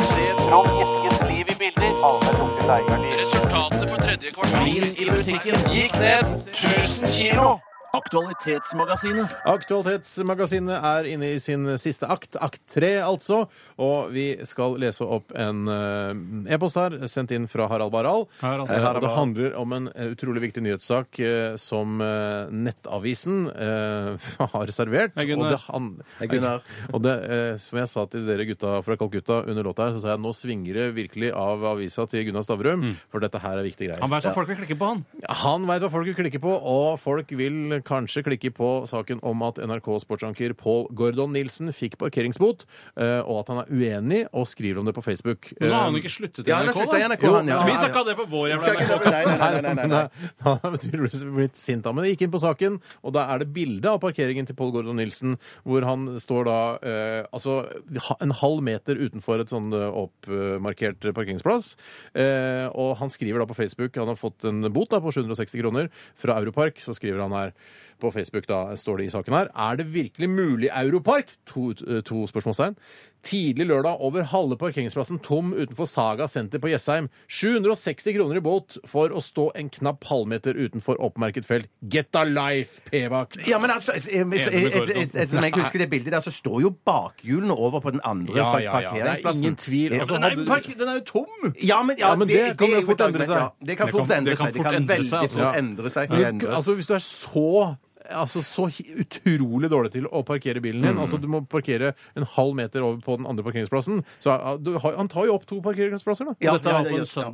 Se fram Eskens liv i bilder. Resultatet for tredje kvartal i musikken gikk ned 1000 kilo. Aktualitetsmagasinet. Aktualitetsmagasinet er inne i sin siste akt, akt tre altså. Og vi skal lese opp en eh, e-post her, sendt inn fra Harald Barald. Harald. Eh, og det handler om en eh, utrolig viktig nyhetssak eh, som eh, Nettavisen eh, har servert. Hei, Gunnar. Og det, han, Hei, Gunnar. og det, eh, som jeg sa til dere gutta fra Calcutta under låta her, så sa jeg nå svinger det virkelig av avisa til Gunnar Stavrum, for dette her er viktige greier. Mm. Han vet at folk vil klikke på han. Han veit hva folk vil klikke på, og folk vil kanskje klikke på saken om at NRK-sportsanker Paul Gordon Nilsen fikk parkeringsbot, eh, og at han er uenig og skriver om det på Facebook. Eh, Nå har han ikke sluttet i Ja, han har NRK, sluttet i da. NRK, han, ja. Så vi snakka det på vår jævla NRK. Nei, nei, nei, nei, nei, nei. Han har tydeligvis blitt sint, da. Men jeg gikk inn på saken, og da er det bilde av parkeringen til Paul Gordon Nilsen, hvor han står da eh, altså ha- en halv meter utenfor et sånn eh, oppmarkert parkeringsplass. Eh, og han skriver da på Facebook Han har fått en bot da på 760 kroner fra Europark. Så skriver han her på Facebook, da står det i saken her Er det virkelig mulig, Europark? To, eh, to spørsmålstegn. Tidlig lørdag over halve parkeringsplassen tom utenfor Saga senter på Jessheim. 760 kroner i båt for å stå en knapp halvmeter utenfor oppmerket felt. Get a life, p-vakt! Ja, men altså, et- et- et- et- et- et- som jeg husker det bildet der, så står jo bakhjulene over på den andre Ja, ja, ja. Det er parkeringsplassen. ingen tvil. Ja, Altså, men- Den er, jo park, den er jo tom! Ja, men, ja, Ja, men det kan jo er jo fort endre et argument, seg. ja. Det kan Det fort kan- endre det kan seg. Det fort kan endre seg, veldig altså. fort endre seg. Men du- altså, hvis du er så Altså så hi- utrolig dårlig til å parkere bilen din. Mm. Altså Du må parkere en halv meter over på den andre parkeringsplassen. Så ja, du, har- Han tar jo opp to parkeringsplasser, da. Ja, Dette var ja, ja, på ja. en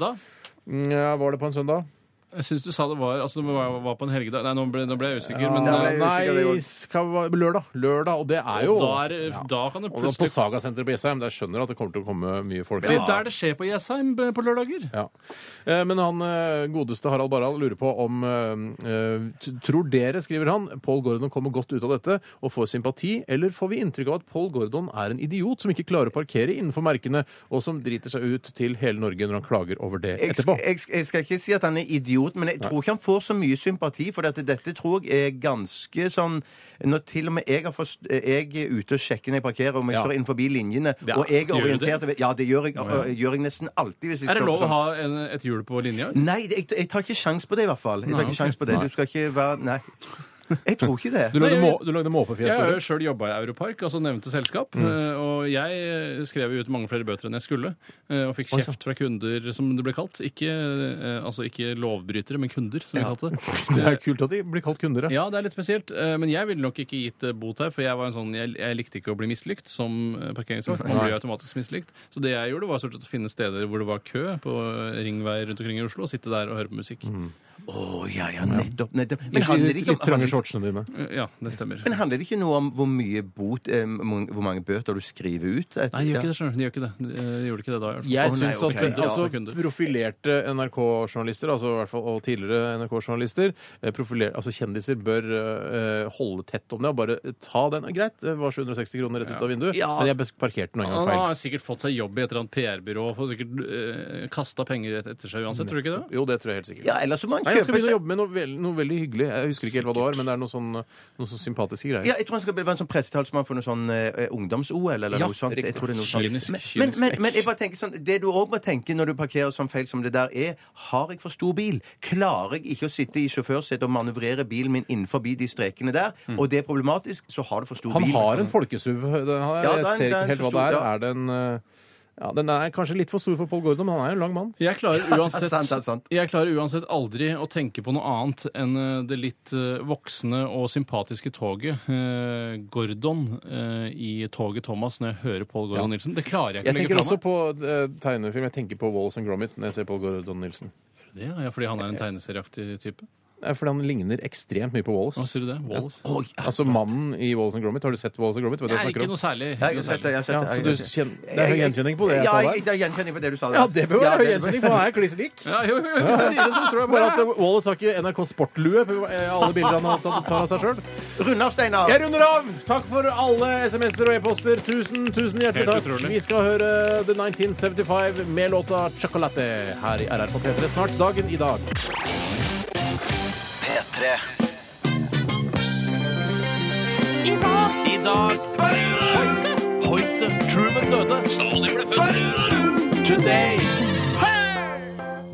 søndag. Ja, var det på en søndag? Jeg syns du sa det var altså det var, var på en helgedag. Nei, nå ble, nå ble jeg usikker. Ja, men da ble eh, jeg usikker, det nei, er jo- skal vi- lørdag. Lørdag, og det er jo da, er, det- Ja. da kan det Og da på plutselig Sagasenteret på Jessheim. Der skjønner du at det kommer til å komme mye folk. Det er dit. der det skjer på Jessheim eh, på lørdager. Ja. Eh, Men han eh, godeste Harald Barral lurer på om eh, eh, t- Tror dere, skriver han, Paul Gordon kommer godt ut av dette og får sympati, eller får vi inntrykk av at Paul Gordon er en idiot som ikke klarer å parkere innenfor merkene, og som driter seg ut til hele Norge når han klager over det Jeg, etterpå? sk- jeg, sk- jeg skal ikke si at han er idiot, men jeg tror ikke han får så mye sympati. For dette, dette tror jeg er ganske sånn Når til og med jeg, har forst, jeg er ute og sjekker når jeg parkerer, om jeg Ja. står innenfor linjene, Ja, og jeg er gjør du det? orientert over- Ja, det gjør jeg, og- gjør jeg nesten alltid. Hvis jeg Er det står på lov å sånn- ha en, et hjul på linja? Nei, jeg, jeg tar ikke sjans på det, i hvert fall. Jeg tar Nei, ikke ok. sjans på det. Du skal ikke være Nei. Jeg tror ikke det. Du lagde, Nei, må, jeg- du lagde måpefjes. Jeg har Tore. jo sjøl jobba i Europark, altså nevnte selskap. eh, Og jeg eh, skrev jo ut mange flere bøter enn jeg skulle. eh, Og fikk kjeft fra kunder, som det ble kalt. Ikke, eh, altså ikke lovbrytere, men kunder, som vi kalte det. Det er kult at de blir kalt kunder. Ja. Ja, det er litt spesielt. eh, Men jeg ville nok ikke gitt eh, bot her, for jeg var en sånn, jeg, jeg likte ikke å bli mislykt som eh, parkeringsvakt. Man blir jo automatisk mislykt. Så det jeg gjorde, var stort sett å finne steder hvor det var kø på eh, ringveier rundt omkring i Oslo, og sitte der og høre på musikk. Å, ja, ja, nettopp. nettopp. Men I handler det litt, ikke litt trange om shortsene dine. Eh, Ja, det stemmer. men handler det ikke noe om hvor mye bot, eh, mon- hvor mange bøter du skriver ut? Et- Nei, de gjør ja. ikke det, skjønner du. De gjør ikke det. De, eh, gjorde ikke det da. i hvert fall. Jeg Å, nei, syns at ok. eh, Kunder, altså altså, kunder. profilerte NRK-journalister, altså i hvert fall og tidligere NRK-journalister, eh, profiler- altså kjendiser, bør eh, holde tett om det og bare ta den. Eh, Greit, det var 760 kroner rett ut av vinduet, Ja. men jeg bes- parkerte den en gang Han feil. har sikkert fått seg jobb i et eller annet PR-byrå og får sikkert eh, kasta penger et- etter seg uansett, tror du ikke det? Jo, det tror jeg helt sikkert. Ja, ellers så må han Nei, jeg skal kjøpe begynne å seg jobbe med noe, vel- noe veldig hyggelig. Jeg husker ikke helt hva det var, men det er noen sånn, noen sånn sympatiske greier. ja, jeg tror han skal bli- være en sånn pressetalsmann for noe sånn eh, ungdoms-OL eller Ja, noe sånt. Jeg riktig. tror det er noe sånn- sånt. Kynisk. Men, kynisk. men, men jeg bare tenker sånn, det du òg må tenke når du parkerer sånn feil som det der er, har jeg for stor bil? Klarer jeg ikke å sitte i sjåførsetet og manøvrere bilen min innenfor de strekene der, og det er problematisk, så har du for stor Mm. Han bil. har en folkesuv. eh, Det- han- Jeg Ja, det er en- ser det er ikke en helt hva for det er. stor, ja. Er det en eh, ja, Den er kanskje litt for stor for Paul Gordon, men han er jo en lang mann. Jeg klarer, uansett, sant, det er sant. jeg klarer uansett aldri å tenke på noe annet enn eh, det litt eh, voksne og sympatiske toget eh, Gordon eh, i toget Thomas når jeg hører Pål Gordon Ja. Nilsen. Det klarer jeg ikke Jeg å legge tenker fra også meg. på eh, tegnefilm. Jeg tenker på Wallace and Gromit når jeg ser Paul Gordon Nilsen. Det er fordi han er en tegneserieaktig type. Nei, fordi han ligner ekstremt mye på Wallace. Hva sier du det? Wallace? Oi, ja. Altså mannen i Wallace and Gromit. Har du sett Wallace and Gromit? Vet du hva jeg Jeg er ikke snakker om? noe særlig. Ja, jeg har sett det, jeg har sett Ja, det, så jeg du har sett det. kjen... Det er høy gjenkjenning på det jeg ja, sa jeg- der? det er gjenkjenning på det du sa der. Ja, det bør være høy det- gjenkjenning, for han er kliss lik. Ja, jo, jo, jo. Hvis du sier det, så tror jeg bare at Wallace har ikke NRK Sportlue på eh, alle bilder han har tatt- tar av seg sjøl. Runde av, Steinar. Jeg runder av! Takk for alle SMS-er og e-poster. Tusen, tusen hjertelig Helt takk. utrolig. Vi skal høre The 1975 med låta 'Chocolate' her i RR på P3 snart. Dagen i dag. P3. I dag Hoite, Hoite, Truman døde Stalin ble født Today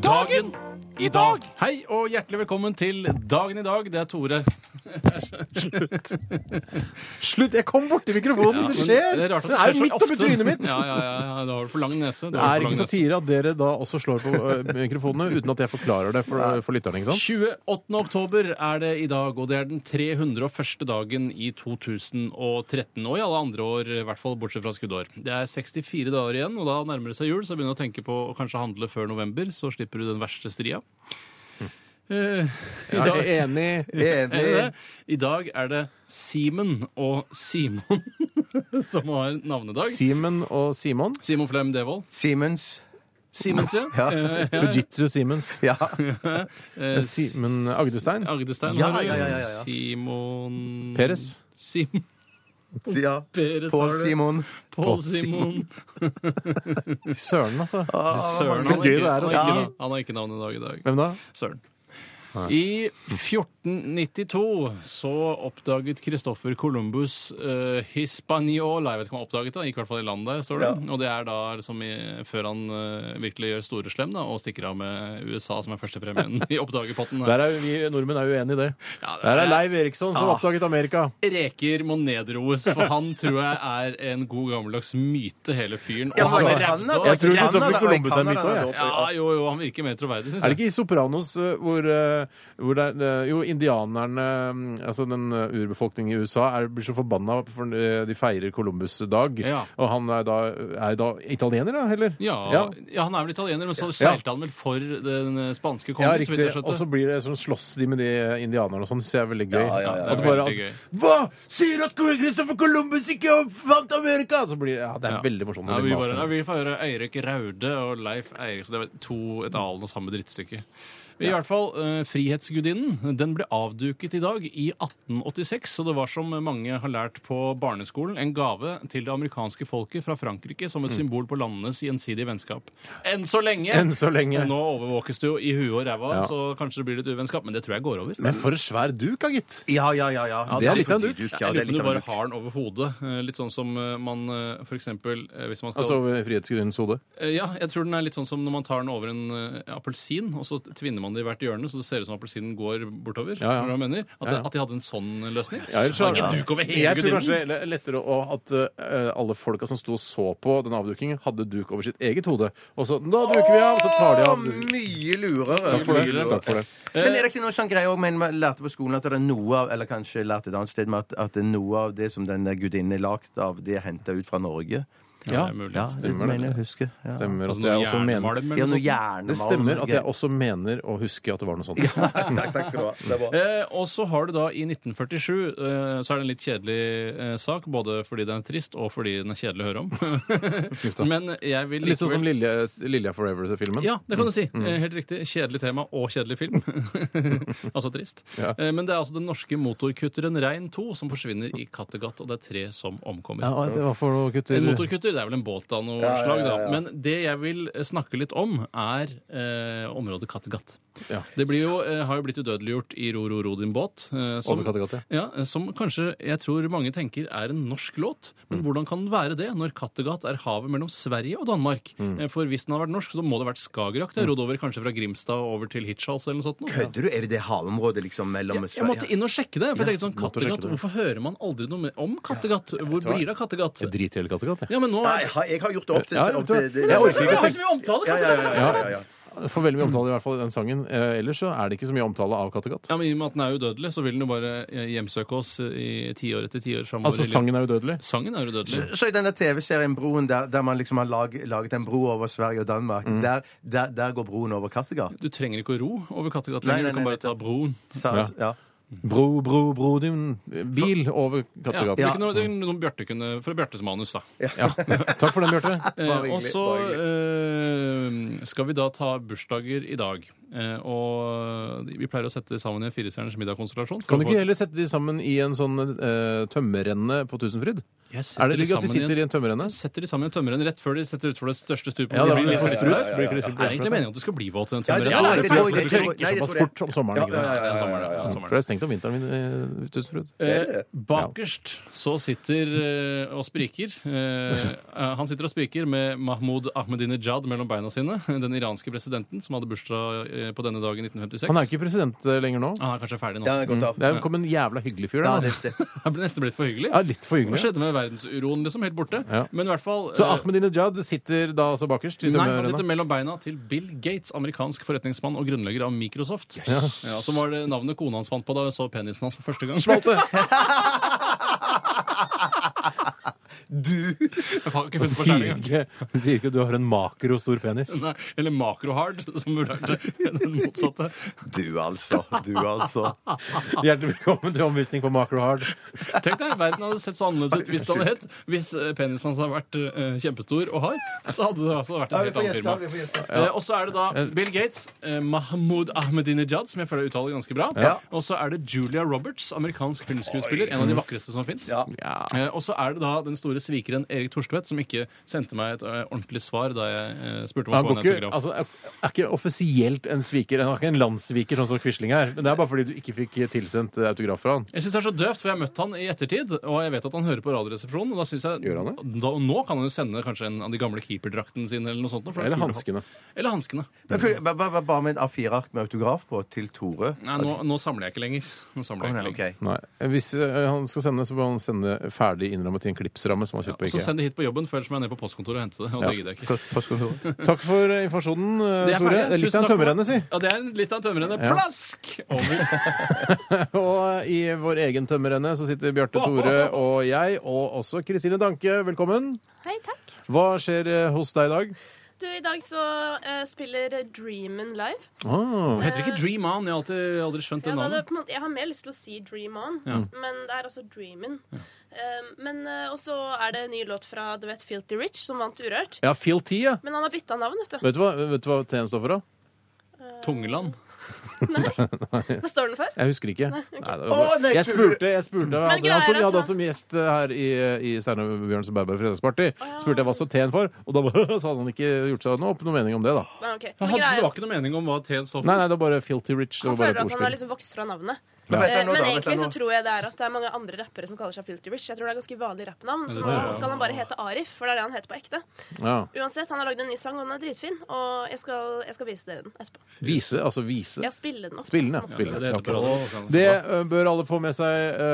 Dagen i dag Hei og hjertelig velkommen til Dagen i dag. Det er Tore. Slutt! Jeg kom borti mikrofonen! det skjer! Men det er rart at Den er skjer jo så midt oppi ofte. trynet mitt! Ja, ja, ja, ja. Da har du for lang nese. Da Det har er du ikke for lang nese. satire at dere da også slår på eh, mikrofonene uten at jeg forklarer det for, for lytterne. ikke sant? 28. oktober er det i dag, og det er den 301. dagen i 2013. Og i alle andre år, i hvert fall bortsett fra skuddår. Det er 64 dager igjen, og da nærmer det seg jul, så jeg begynner å tenke på å kanskje handle før november, så slipper du den verste stria. Eh, i Jeg dag- er enig. Er det det? Enig. I dag er det Simen og Simon som har navnedag. Simen og Simon. Simon Flem Devold. Simens. Simens, ja. Fujitsu Simens. Ja. Eh, Simen Agdestein. Agdestein. Ja, har du. ja, ja, ja, ja. Simon Peres. Sim ja. Peres har Pål du. Simon. Paul Simon. Søren, altså. Søren, Så han gøy har ikke- det er å han har si. ikke- Han har ikke navn i dag i dag. Hvem da? Søren. I 1492 så oppdaget Christoffer Columbus eh, Hispaniola. Jeg vet ikke om han oppdaget det, han gikk i hvert fall i land der, står det. Og det er da liksom i, før han eh, virkelig gjør store slem da, og stikker av med USA, som er førstepremien i oppdagerpotten. Der er jo vi nordmenn er uenige i det. Ja, det Der er er- Leiv Eriksson som oppdaget Amerika. Reker må nedroes, for han tror jeg er en god gammeldags myte, hele fyren. Og Ja, han men er han rævda. er- Jeg tror Canada, Kristoffer da, og Columbus er Canada, mitt òg, da, jeg. da. Ja, jo, jo, han virker mer troverdig, syns Er det jeg. ikke i Sopranos eh, hvor eh, hvor det er, eh, Jo, indianerne, mm, altså den eh, urbefolkningen i USA, er, blir så forbanna, for eh, de feirer Columbus' dag. Ja. Og han er da, er da italiener, da, heller? Ja, ja. Ja. han er vel italiener, men så seilte han vel for den eh, spanske kongen. Ja, så vidt riktig. jeg skjønte. Og så blir det sånn slåss de med de indianerne og sånn. Det er veldig gøy. Ja, ja, ja, At det bare er veldig at, Hva?! Sier at Christopher Columbus ikke oppfant Amerika?! Så blir det, ja, det er Ja. veldig morsomt. Ja, Veldig vi, bare, morsomt. ja, vi får høre Eirik Raude og Leif Eirik. Så det er to et av alle samme drittstykke. I hvert fall, eh, Frihetsgudinnen den ble avduket i dag i 1886. Så det var, som mange har lært på barneskolen, en gave til det amerikanske folket fra Frankrike som et symbol på landenes gjensidige vennskap. Enn så lenge! Mm. Enn så lenge. Nå overvåkes du jo i huet og ræva, Ja. så kanskje det blir litt uvennskap. Men det tror jeg går over. Men for en svær duk, da, gitt. Ja, ja, ja. ja. det er litt av en fordi duk. Ja, det jeg er lurer litt på om du av en bare duk. har den over hodet. Eh, Litt sånn som eh, man eh, for eksempel eh, hvis man skal Altså over Frihetsgudinnens hode. Eh, Ja, jeg tror den er litt sånn som når man tar den over en eh, appelsin, og så tvinner man det i hvert hjørne, så det ser ut som appelsinen går bortover. Ja, ja. skjønner du hva jeg mener? At, Ja, ja. at de hadde en sånn løsning. Ja, ellers så- Det var ikke duk over hele jeg tror gudinnen. kanskje det er lettere å, at eh, alle folka som sto og så på den avdukingen, hadde duk over sitt eget hode. Og så Da duker vi av! Så tar de av duken. Mye lurere. Takk for det. Mye lurere. Takk for det. Men er det ikke noe sånn greie også, men man lærte på skolen at det er noe av eller kanskje lærte et annet sted med at, at det er noe av det som den der gudinnen er lagd av, det er henta ut fra Norge? Ja, det er mulig. Ja, det stemmer det. mener jeg å huske. Ja. Stemmer Altså at jeg noe også mener jernmalm Ja, eller noe noe sånt. hjernemalm. Det stemmer at jeg Gøy. også mener å huske at det var noe sånt. Takk, takk skal du ha. Det er bra. Eh, og så har du da i 1947 eh, så er det en litt kjedelig eh, sak, både fordi den er trist og fordi den er kjedelig å høre om. Men jeg vil Litt sånn likevel- som Lilja, Lilja Forever-filmen. Ja, det kan du si. Mm. Eh, Helt riktig. Kjedelig tema og kjedelig film. altså trist. Ja. Eh, Men det er altså den norske motorkutteren Rein 2 som forsvinner i Kattegat, og det er tre som omkommer. Ja, og det var for noe, gutter. En motorkutter det er vel en båt av noe slag, da. Men det jeg vil snakke litt om, er eh, området Kattegat. Ja. Det blir jo, eh, har jo blitt udødeliggjort i Ro, ro, ro din båt. eh, som- Over Kattegat, ja. ja, eh, som kanskje jeg tror mange tenker er en norsk låt. Men Mm. hvordan kan den være det når Kattegat er havet mellom Sverige og Danmark? Mm. Eh, For hvis den hadde vært norsk, så må det ha vært Skagerrak. Det er rodd over kanskje fra Grimstad og over til Hirtshals eller noe sånt. nå. Kødder du? Er det det havområdet liksom mellom Jeg måtte inn og sjekke det. for jeg tenkte sånn, måtte sjekke Kattegat, det. Hvorfor hører man aldri noe mer om Kattegat? Hvor blir det av Kattegat? Jeg driter i hele Kattegat, jeg. Ja, men nå Nei, er jeg har- jeg har gjort det opp til Ja, opp vet du hva? til- det- Jeg orker Vi ikke har så mye omtale! Ja, ja, Kattegat! ja, ja, ja, ja. Får veldig mye omtale i hvert fall i den sangen. Eh, ellers så er det ikke så mye omtale av Kattegat. Ja, men I og med at den er udødelig, så vil den jo bare eh, hjemsøke oss i tiår etter tiår framover. Altså, sangen er udødelig. sangen er udødelig. Så i denne TV-serien Broen, der, der man liksom har lag, laget en bro over Sverige og Danmark, Mm. der, der, der går broen over Kattegat. Du trenger ikke å ro over Kattegat Nei, nei, lenger. Du kan nei, bare ta broen. Sa, Ja. ja. Bro, bro, bro din bil over Ja, Kattegat. det er ikke noe, det er noe Bjarte kunne, fra Bjartes manus, da. Ja. Takk for den, Bjarte. Eh, hyggelig, og så bare eh, skal vi da ta bursdager i dag. Eh, og vi pleier å sette sammen i en firestjerners middagkonstellasjon. for Kan å du få- ikke heller sette de sammen i en sånn eh, tømmerrenne på Tusenfryd? Jeg setter Er det de ligger at de sammen i en- sitter i en tømmerrenne? Setter de sammen i en tømmerrenn rett før de setter utfor det største stupet. Ja, Det da blir det blir litt for for sprøyt. Det sprøyt. blir ikke- Det er egentlig meningen at du skal bli våt i en Ja, det- tømmerrenn. ja, det- det- tror jeg- Det det- det- tror jeg- tørker Nei, jeg såpass tror det- fort om sommeren. Ja, ikke sant? ja, ja, ja, ja. Sommeren, ja, Ja, sommeren. For det er stengt om vinteren i Tusenfryd. Eh, bakerst så sitter eh, og spriker eh, eh, Han sitter og spriker med Mahmoud Ahmedinejad mellom beina sine. Den iranske presidenten som hadde bursdag eh, på denne dagen i 1956. Han er ikke president eh, lenger nå. Ah, han er kanskje ferdig nå. Ja, det er godt av. Det er jo kommet en jævla hyggelig fyr Ja, der. det, da. det. Han ble nesten blitt for hyggelig. Ja, litt for Hva hyggelig. skjedde med verdensuroen? liksom helt borte? Ja. Men i hvert fall Så eh, Ahmedinejad sitter da altså bakerst? i Nei, han tømmerrenna? sitter mellom beina til Bill Gates, amerikansk forretningsmann og grunnlegger av Microsoft. Ja, Som var det navnet kona hans fant på da hun så penisen hans for første gang. Smalt det! Du! Jeg har ikke funnet på Sier skjæring, jeg. ikke, sier ikke du har en makrostor penis. Nei, Eller makrohard, som burde vært det- den motsatte. Du, altså. Du, altså. Hjertelig velkommen til omvisning på Macrohard. Tenk deg, Verden hadde sett så annerledes ut hvis det hadde hett Hvis eh, penisen hans hadde vært eh, kjempestor og hard, så hadde det altså vært en helt annen firma. Eh, og så er det da Bill Gates, eh, Mahmoud Ahmedinejad, som jeg føler jeg uttaler ganske bra. Og så er det Julia Roberts, amerikansk filmskuespiller. En av Mm. de vakreste som fins. Ja. Eh, og så er det da den store svikeren Erik Thorstvedt, som ikke sendte meg et eh, ordentlig svar da jeg eh, spurte om Han å går få en ikke, autograf. altså, er- er ikke offisielt en sviker. Han er ikke en landssviker, sånn som Quisling er. Men det er bare fordi du ikke fikk tilsendt eh, autograf fra han. Jeg synes det er så døvt, for jeg har møtt han i ettertid, og jeg vet at han hører på Radioresepsjonen. og da synes jeg... Gjør han Da, nå kan han jo sende kanskje en av de gamle keeperdraktene sine eller noe sånt. for det Eller er kult å ha. hanskene. Eller hanskene. Men kunne- ba- ba- ba- Bare med en A4-ark med autograf på til Tore. Nei, nå, nå samler jeg ikke lenger. Nå samler jeg ikke lenger. Ok. Nei. Hvis eh, han skal sende, så må han sende ferdig innrammet i en klipsramme, samme som man kjøper på Så IKEA. send det hit på jobben, for ellers må jeg ned på postkontoret og hente det. Og det gidder jeg ikke. Postkontoret. Takk for eh, informasjonen, eh, Det er Tore. Det ferdig. er Litt av Tusen en takk for- tømmerrenne, si. Ja, det er litt av en tømmerrenne. Ja. Plask! Over. Og eh, i vår egen tømmerrenne så sitter Bjarte Tore og jeg, og også Kristine Danke. Velkommen. Hei, takk. Hva skjer eh, hos deg i dag? Du, I dag så eh, spiller Dreamin live. Ah, Heter det ikke Dream On? Jeg har alltid, aldri skjønt Ja, det da, det, navnet. er på en måte, jeg har mer lyst til å si Dream On, men det er altså Dreamin. Um, men eh, Og så er det en ny låt fra du vet, Filty Rich, som vant Urørt. ja, Phil T, ja. Men han har bytta navn, vet du. Vet du hva, vet du hva T-en står for, da? Tungeland. Hva står den for? Jeg husker ikke. Nei, det var Å, bra. nei, jeg tuller spurte, jeg spurte jeg hadde, greia han som, jeg er at hadde han han- som gjest eh, her i, i Steinar og Bjørns og Berberg fredagsparty. Spurte jeg hva står T-en for, og da bare, så hadde han ikke gjort seg noe opp noen mening om det, da. Nei, ok. Han Men hadde, greia det er var at ikke noe mening om hva T står for. Nei, nei, det var bare Filty Rich. Det var han bare et føler at han har ordspill. liksom vokst fra navnet. Men Eh, vent her nå, Men da, vent her egentlig så nå. tror jeg det er at det er mange andre rappere som kaller seg Filty Rich. Jeg tror det er ganske vanlig rappnavn. Så det nå tror jeg, ja. skal han bare hete Arif, for det er det han heter på ekte. Ja. Uansett, han har lagd en ny sang, og den er dritfin. Og jeg skal, jeg skal vise dere den etterpå. Vise, altså vise. Jeg spiller den opp. Spillene, ja. Ja, det, er det Spillene. heter Ok. på radio. Det ø, bør alle få med seg ø,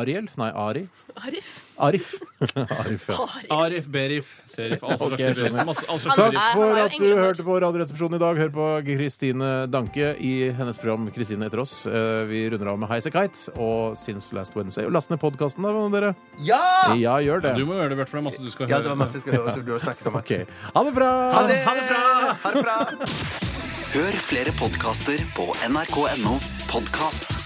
Ariel. Nei, Ari. Arif. Arif. Arif, ja. Arif. Arif, Berif, Serif, all slags Ok, jeg skjønner. typer. Masse- all slags Takk typer. han for er jo at du englebarn. hørte på Radioresepsjonen i dag. Hør på Kristine Danke i hennes program 'Kristine etter oss'. Eh, Vi runder av med Highas a Kite og Since Last Wednesday. Og Last ned podkasten, da, dere. Ja! Ja, gjør det. Du må gjøre det, Bjarte, for det er masse du skal Ja, det var høre. masse jeg skal høre, som du har snakket om. Ok. Ha det bra! Ha det fra! Ha det fra! Hør flere podkaster på nrk.no podkast.